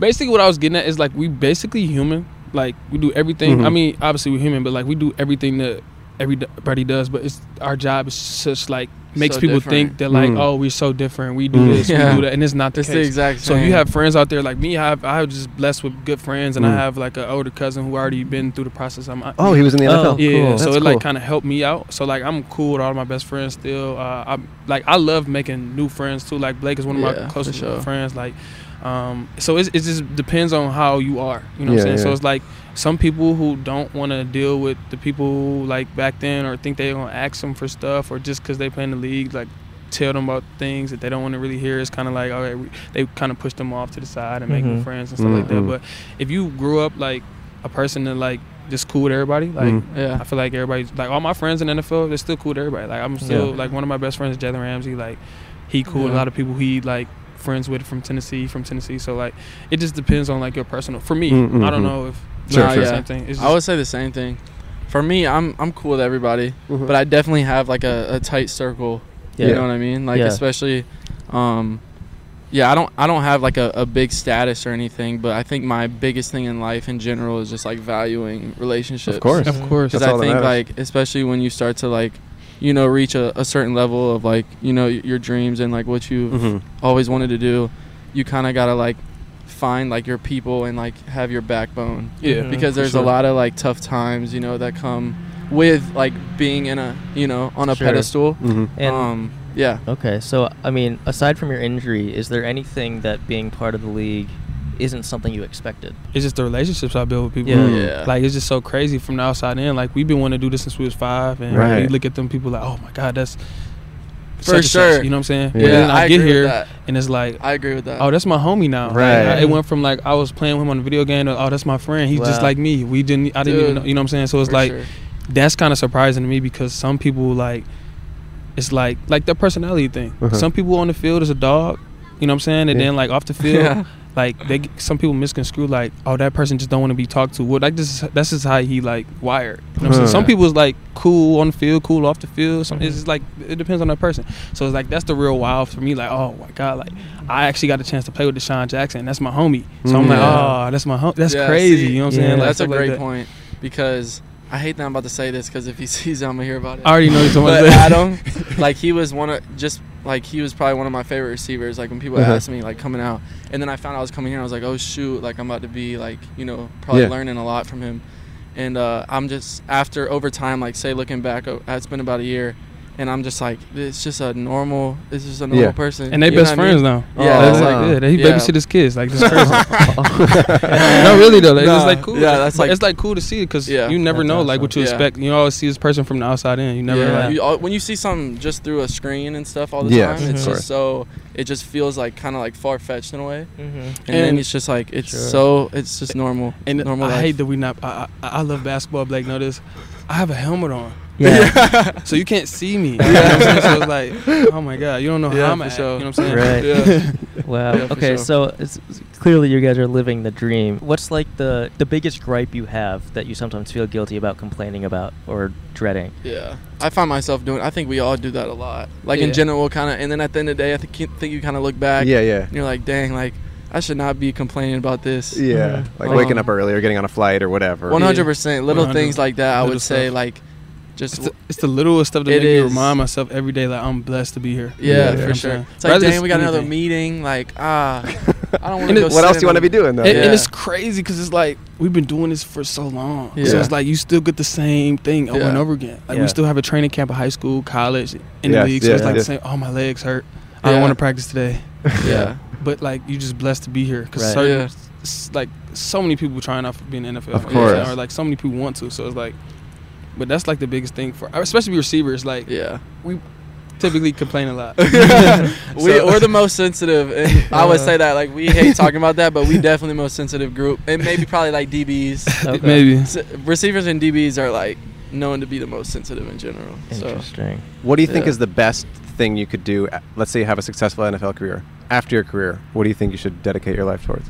basically what i was getting at is like we basically human like we do everything Mhm. i mean obviously we're human but like we do everything that everybody does but it's our job is such like makes So people different. think that like Mhm. oh we're so different we do Mhm. this Yeah. we do that and it's not the It's the case exact so you same. have friends out there like me i have i have just blessed with good friends and i Mhm. have like an older cousin who already been through the process i'm Oh, he was in the Oh, NFL. cool. yeah, so That's it like cool. kind of helped me out. So like I'm cool with all my best friends still. Uh, I'm like I love making new friends too. Like Blake is one of Yeah, my for closest sure. friends. Like, um, so it's, it just depends on how you are. You know Yeah, what I'm saying? yeah. So it's like some people who don't want to deal with the people like back then, or think they're gonna ask them for stuff, or just because they play in the league, like tell them about things that they don't want to really hear. It's kind of like all right, we, they kind of push them off to the side and make new Mhm. friends and stuff like that. Mhm. But if you grew up like a person that like just cool with everybody, like. Mhm. Yeah. I feel like everybody's like all my friends in NFL, they're still cool to everybody. Like I'm still Yeah. like one of my best friends, Jalen Ramsey. Like he cool. with A Yeah. lot of people he like friends with from Tennessee, from Tennessee. So like it just depends on like your personal. For me, Mm, mm, I don't mm. know if Sure, it's the sure. same thing. It's I would say the same thing. For me, I'm I'm cool with everybody, Mhm. but I definitely have like a, a tight circle. Yeah. You know what I mean? Like Yeah. especially, um, yeah. I don't I don't have like a, a big status or anything, but I think my biggest thing in life in general is just like valuing relationships. Of course. of course. because That's I all that think matters. like especially when you start to like you know reach a, a certain level of like you know y- your dreams and like what you've Mhm. always wanted to do you kind of gotta like find like your people and like have your backbone Yeah, Mhm. because for there's sure. a lot of like tough times you know that come with like being in a you know on a Sure. pedestal. Mm-hmm. And- um, yeah. Okay, so I mean, aside from your injury, is there anything that being part of the league isn't something you expected? It's just the relationships I build with people. Yeah. Mm. Mm. Yeah. Like it's just so crazy from the outside in. Like we've been wanting to do this since we was five, and Right. you look at them people like, oh my god, that's For such and such," sure. you know what I'm saying? Yeah, but then I, I get agree with here that. and it's like I agree with that. Oh, that's my homie now. Like, Right. I- it went from like I was playing with him on a video game. To, oh, that's my friend. He's just Wow. like me. We didn't. I didn't even. Dude, Know, you know what I'm saying? So it's for like sure. that's kind of surprising to me because some people like it's like like that personality thing. Uh-huh. Some people on the field is a dog. You know what I'm saying? And Yeah. then like off the field, Yeah. like they get- some people misconstrue like oh that person just don't want to be talked to. Well, like this is that's just how he like wired. You know what I'm saying? Huh. Some people is like cool on the field, cool off the field. Some it's just like it depends on that person. So it's like that's the real wild for me. Like oh my god, like I actually got a chance to play with Deshaun Jackson. and That's my homie. So I'm like Yeah. oh that's my homie. That's Yeah, crazy. see, you know what I'm saying? Like, that's a stuff like great that. point because I hate that I'm about to say this because if he sees it, I'm gonna hear about it. I already know you're talking about But that. Adam, like he was one of just like he was probably one of my favorite receivers. Like when people Uh-huh. asked me like coming out, and then I found out I was coming here, I was like, oh shoot, like I'm about to be like you know probably Yeah. learning a lot from him, and uh, I'm just after over time, like say looking back, oh, it's been about a year. And I'm just like, it's just a normal, it's just a normal Yeah. person. And they You know best what I mean? friends now. Yeah, Uh-huh. Oh, it's like, wow. Yeah, they babysit his kids, like, this is crazy. no, really though, like, it's like cool. Yeah, that's like it's like cool to see because you never That's know like what you awesome. Yeah. expect. You always see this person from the outside in. You never yeah. like You al- when you see something just through a screen and stuff all the Yes, time, it's of course. just so it just feels like kind of like far fetched in a way. Mhm. Mm-hmm. And, And- then it's just like it's so it's just normal. And normal I life. hate that we not. I, I, I love basketball. Blake, know this. I have a helmet on. Yeah. so you can't see me. You know what I'm saying? So it's like, oh my god, you don't know Yeah, how I'm for at. sure. You know what I'm saying? Right. Yeah. Wow. Yeah, for okay, sure. so it's, it's- clearly you guys are living the dream. What's like the the biggest gripe you have that you sometimes feel guilty about complaining about or dreading? Yeah, I find myself doing. I think we all do that a lot. Like Yeah. in general, kind of. And then at the end of the day, I think you, think you kind of look back. Yeah, yeah. And you're like, dang, like I should not be complaining about this. Yeah, Mm-hmm. like Um, waking up early or getting on a flight or whatever. One hundred percent. Little things like that. I Little would say stuff. like, just It's the, it's the littlest stuff that It make me is. remind myself every day like I'm blessed to be here. Yeah, You know for what I'm sure. saying? It's like, Rather dang, we got another anything. meeting. Like, ah, I don't want And to it- go. what else sit do you wanna in be a- doing, though? And, and Yeah. it's crazy because it's like we've been doing this for so long. So Yeah. it's like you still get the same thing over Yeah. and over again. Like Yeah. we still have a training camp at high school, college, in Yes, the league. So it's yes, like yes. the same. Oh, my legs hurt. I don't Yeah. want to practice today. Yeah. But like you just blessed to be here because Right. certain, Yeah. s- like so many people trying out for being NFL. Of you know what I'm saying? course. Or like so many people want to. So it's like, but that's like the biggest thing for especially receivers. Like yeah, we typically complain a lot. we, So- we're the most sensitive, and I would Uh. say that like we hate talking about that, but we definitely the most sensitive group, and maybe probably like DBs, Okay. Maybe. S- receivers and DBs are like known to be the most sensitive in general. so- What do you think Yeah. is the best thing you could do? a- Let's say you have a successful NFL career. After your career, what do you think you should dedicate your life towards?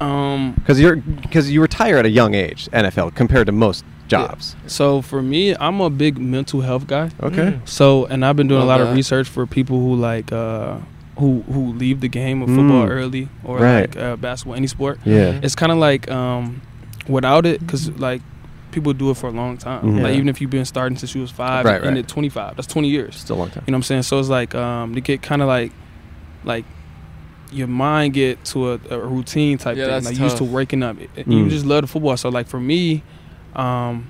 Um, Because you're because you retire at a young age, NFL compared to most jobs. So for me, I'm a big mental health guy. Okay. Mm. So and I've been doing Love a lot of that. research for people who like uh who who leave the game of Mm. football early or Right. like uh, basketball, any sport. Yeah. Mm-hmm. It's kind of like um without it, because like people do it for a long time. Mhm. Like Yeah. even if you've been starting since you was five, Right, and ended right. 25. That's 20 years. Still a long time. You know what I'm saying? So it's like um to get kind of like like your mind get to a, a routine type Yeah, thing. that's like you used to tough. waking up. It- Mm. You just love the football. So like for me, um,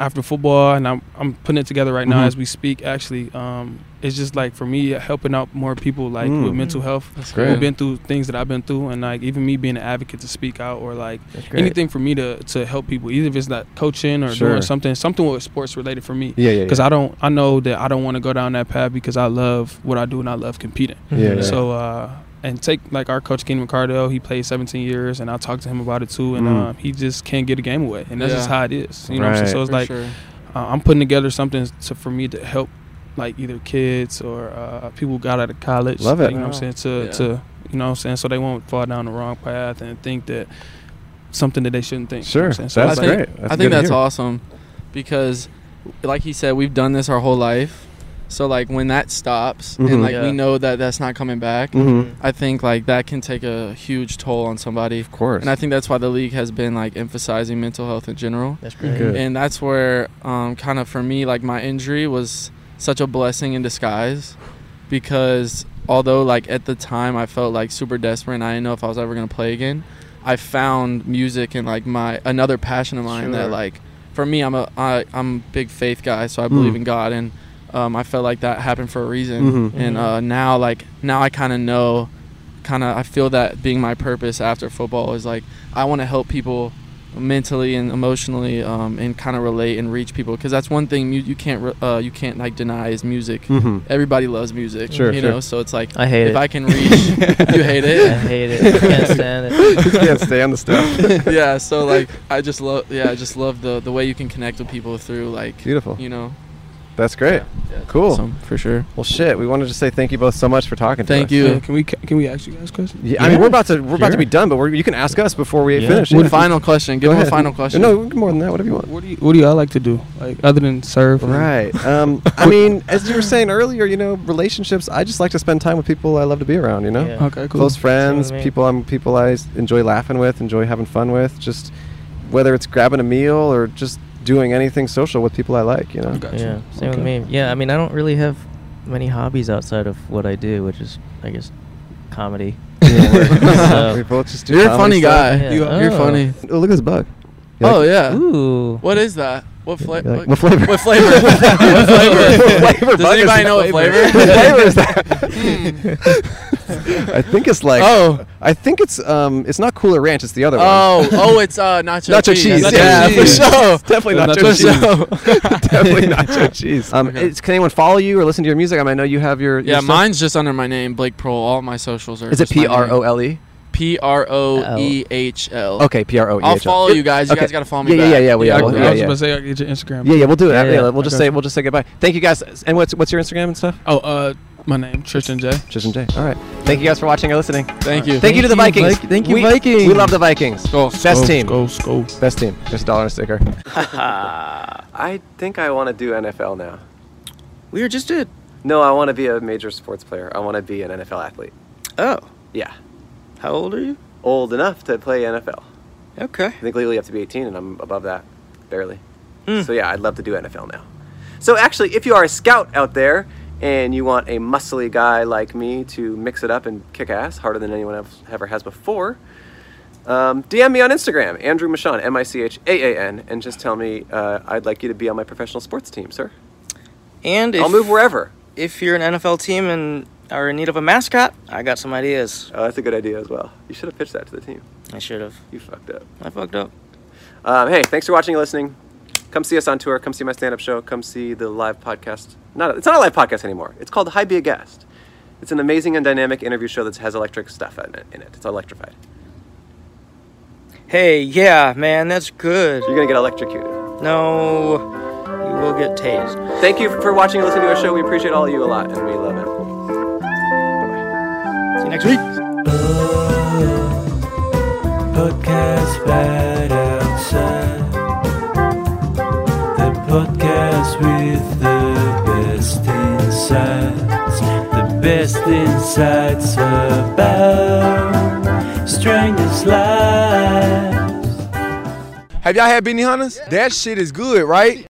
after football, and I'm I'm putting it together right Mm-hmm. now Mhm. as we speak. Actually, um, it's just like for me helping out more people like Mm. with mental health That's who've great. been through things that I've been through, and like even me being an advocate to speak out or like great. anything for me to to help people, either if it's not coaching or Sure. doing something something with sports related for me. Yeah, yeah, Because yeah. I don't I know that I don't want to go down that path because I love what I do and I love competing. Yeah, yeah. So uh, and take like our coach Kenny Ricardo, he played 17 years, and I talked to him about it too, and Mm. uh, he just can't get a game away, and that's Yeah. just how it is. You know what I'm Right. saying? So it's For like sure. uh, I'm putting together something to, for me to help like either kids or uh, people who got out of college. Love it. You know what I'm saying? To Yeah. to you know what I'm saying, so they won't fall down the wrong path and think that something that they shouldn't think. Sure. You know what I'm saying? So That's it's like- great. I good think to that's hear. awesome because, like he said, we've done this our whole life. So like when that stops Mhm. and like Yeah. we know that that's not coming back, Mhm. I think like that can take a huge toll on somebody. Of course. And I think that's why the league has been like emphasizing mental health in general. That's great. Good. And that's where um, kind of for me like my injury was such a blessing in disguise because although like at the time I felt like super desperate and I didn't know if I was ever gonna play again, I found music and like my another passion of mine Sure. that like for me, I'm a I, I'm a big faith guy, so I believe Mm. in God, and um, I felt like that happened for a reason. Mm-hmm. Mhm. And Mhm. uh, now, like now, I kind of know, kind of I feel that being my purpose after football is like I want to help people mentally and emotionally um, and kind of relate and reach people because that's one thing you, you can't re- uh, you can't like deny is music Mhm. everybody loves music Sure, you sure. know so it's like I hate if it. i can reach you hate it I hate it. Can't stand it. Just can't stand the stuff. yeah so like i just love yeah i just love the the way you can connect with people through like Beautiful. you know That's great. cool. for sure. Well, shit. We wanted to say thank you both so much for talking Thank to us. you. Can we can we ask you guys questions? Yeah, I mean, we're about to we're about to be done, but we're, you can ask us before we Yeah. finish. One Yeah. final question. Give Go him a ahead. final question. No, more than that. Whatever you want. What do you What do y'all like to do? Like other than serve? and- Right. Um, I mean, as you were saying earlier, you know, relationships. I just like to spend time with people I love to be around. You know, Yeah. Okay, cool. Close Same with friends, me. people I'm people I s- enjoy laughing with, enjoy having fun with. Just whether it's grabbing a meal or just doing anything social with people I like. You know. Yeah, same with me. Yeah, I mean, I don't really have many hobbies outside of what I do, which is, I guess, comedy. We both just do you're a comedy funny stuff. guy Yeah. you, are Oh. funny Oh, look at this bug. You oh like it? yeah Ooh. what is that what, fla- You like- what flavor? what flavor what flavor What flavor does bug is anybody that? know what flavor What flavor is that? I think it's like. Oh. I think it's um. It's not Cooler Ranch. It's the other Oh, one. oh, it's uh, nacho, nacho cheese. cheese. Nacho yeah, cheese. for sure. It's Definitely nacho nacho, cheese. cheese. Definitely nacho cheese. Um, it's, can anyone follow you or listen to your music? I mean, I know you have your. your Yeah, stuff. mine's just under my name, Blake Prohl. All my socials are. Is it just my name. P.R.O.L.E.? P R O E H L. E? Okay, P.R.O.E.H.L.. I'll follow you guys. You Okay. guys gotta follow Yeah, me. yeah, back. yeah, yeah, we I, all- I yeah, was yeah. about to say I get your Instagram. Yeah, yeah, we'll do it. Yeah, yeah, we'll I just got say you. we'll just say goodbye. Thank you guys. And what's what's your Instagram and stuff? Oh, uh, my name Tristan J. Tristan J. All right. Thank you guys for watching and listening. Thank you. Thank, you to the Thank you, Vikings. Vik- thank you, we, Vikings. We love the Vikings. Skull, Best skull, team. skull, skull. Best team. There's a dollar and a sticker. I think I want to do NFL now. We just did. No, I want to be a major sports player. I want to be an NFL athlete. Oh, Yeah, how old are you? old enough to play NFL. Okay. I think legally you have to be 18, and I'm above that, barely. Hmm. So yeah, I'd love to do NFL now. So actually, if you are a scout out there and you want a muscly guy like me to mix it up and kick ass harder than anyone else ever has before, um, DM me on Instagram, Andrew Michon, M-I-C-H-A-A-N, and just tell me uh, I'd like you to be on my professional sports team, sir. And I'll if- move wherever. If you're an NFL team and are in need of a mascot, I got some ideas. Oh, that's a good idea as well. You should have pitched that to the team. I should have. You fucked up. I fucked up. Um, hey, thanks for watching and listening. Come see us on tour. Come see my stand-up show. Come see the live podcast. Not it's not a live podcast anymore. It's called Hi Be a Guest. It's an amazing and dynamic interview show that has electric stuff in it. In it. It's electrified. Hey, yeah, man, that's good. You're gonna get electrocuted. No, you will get tased. Thank you for watching and listening to our show. We appreciate all of you a lot, and we love it. See you next week. podcast right outside. The podcast with the best insights, the best insights about strangers' lives. Have y'all had Beanie Hunters? That shit is good, right?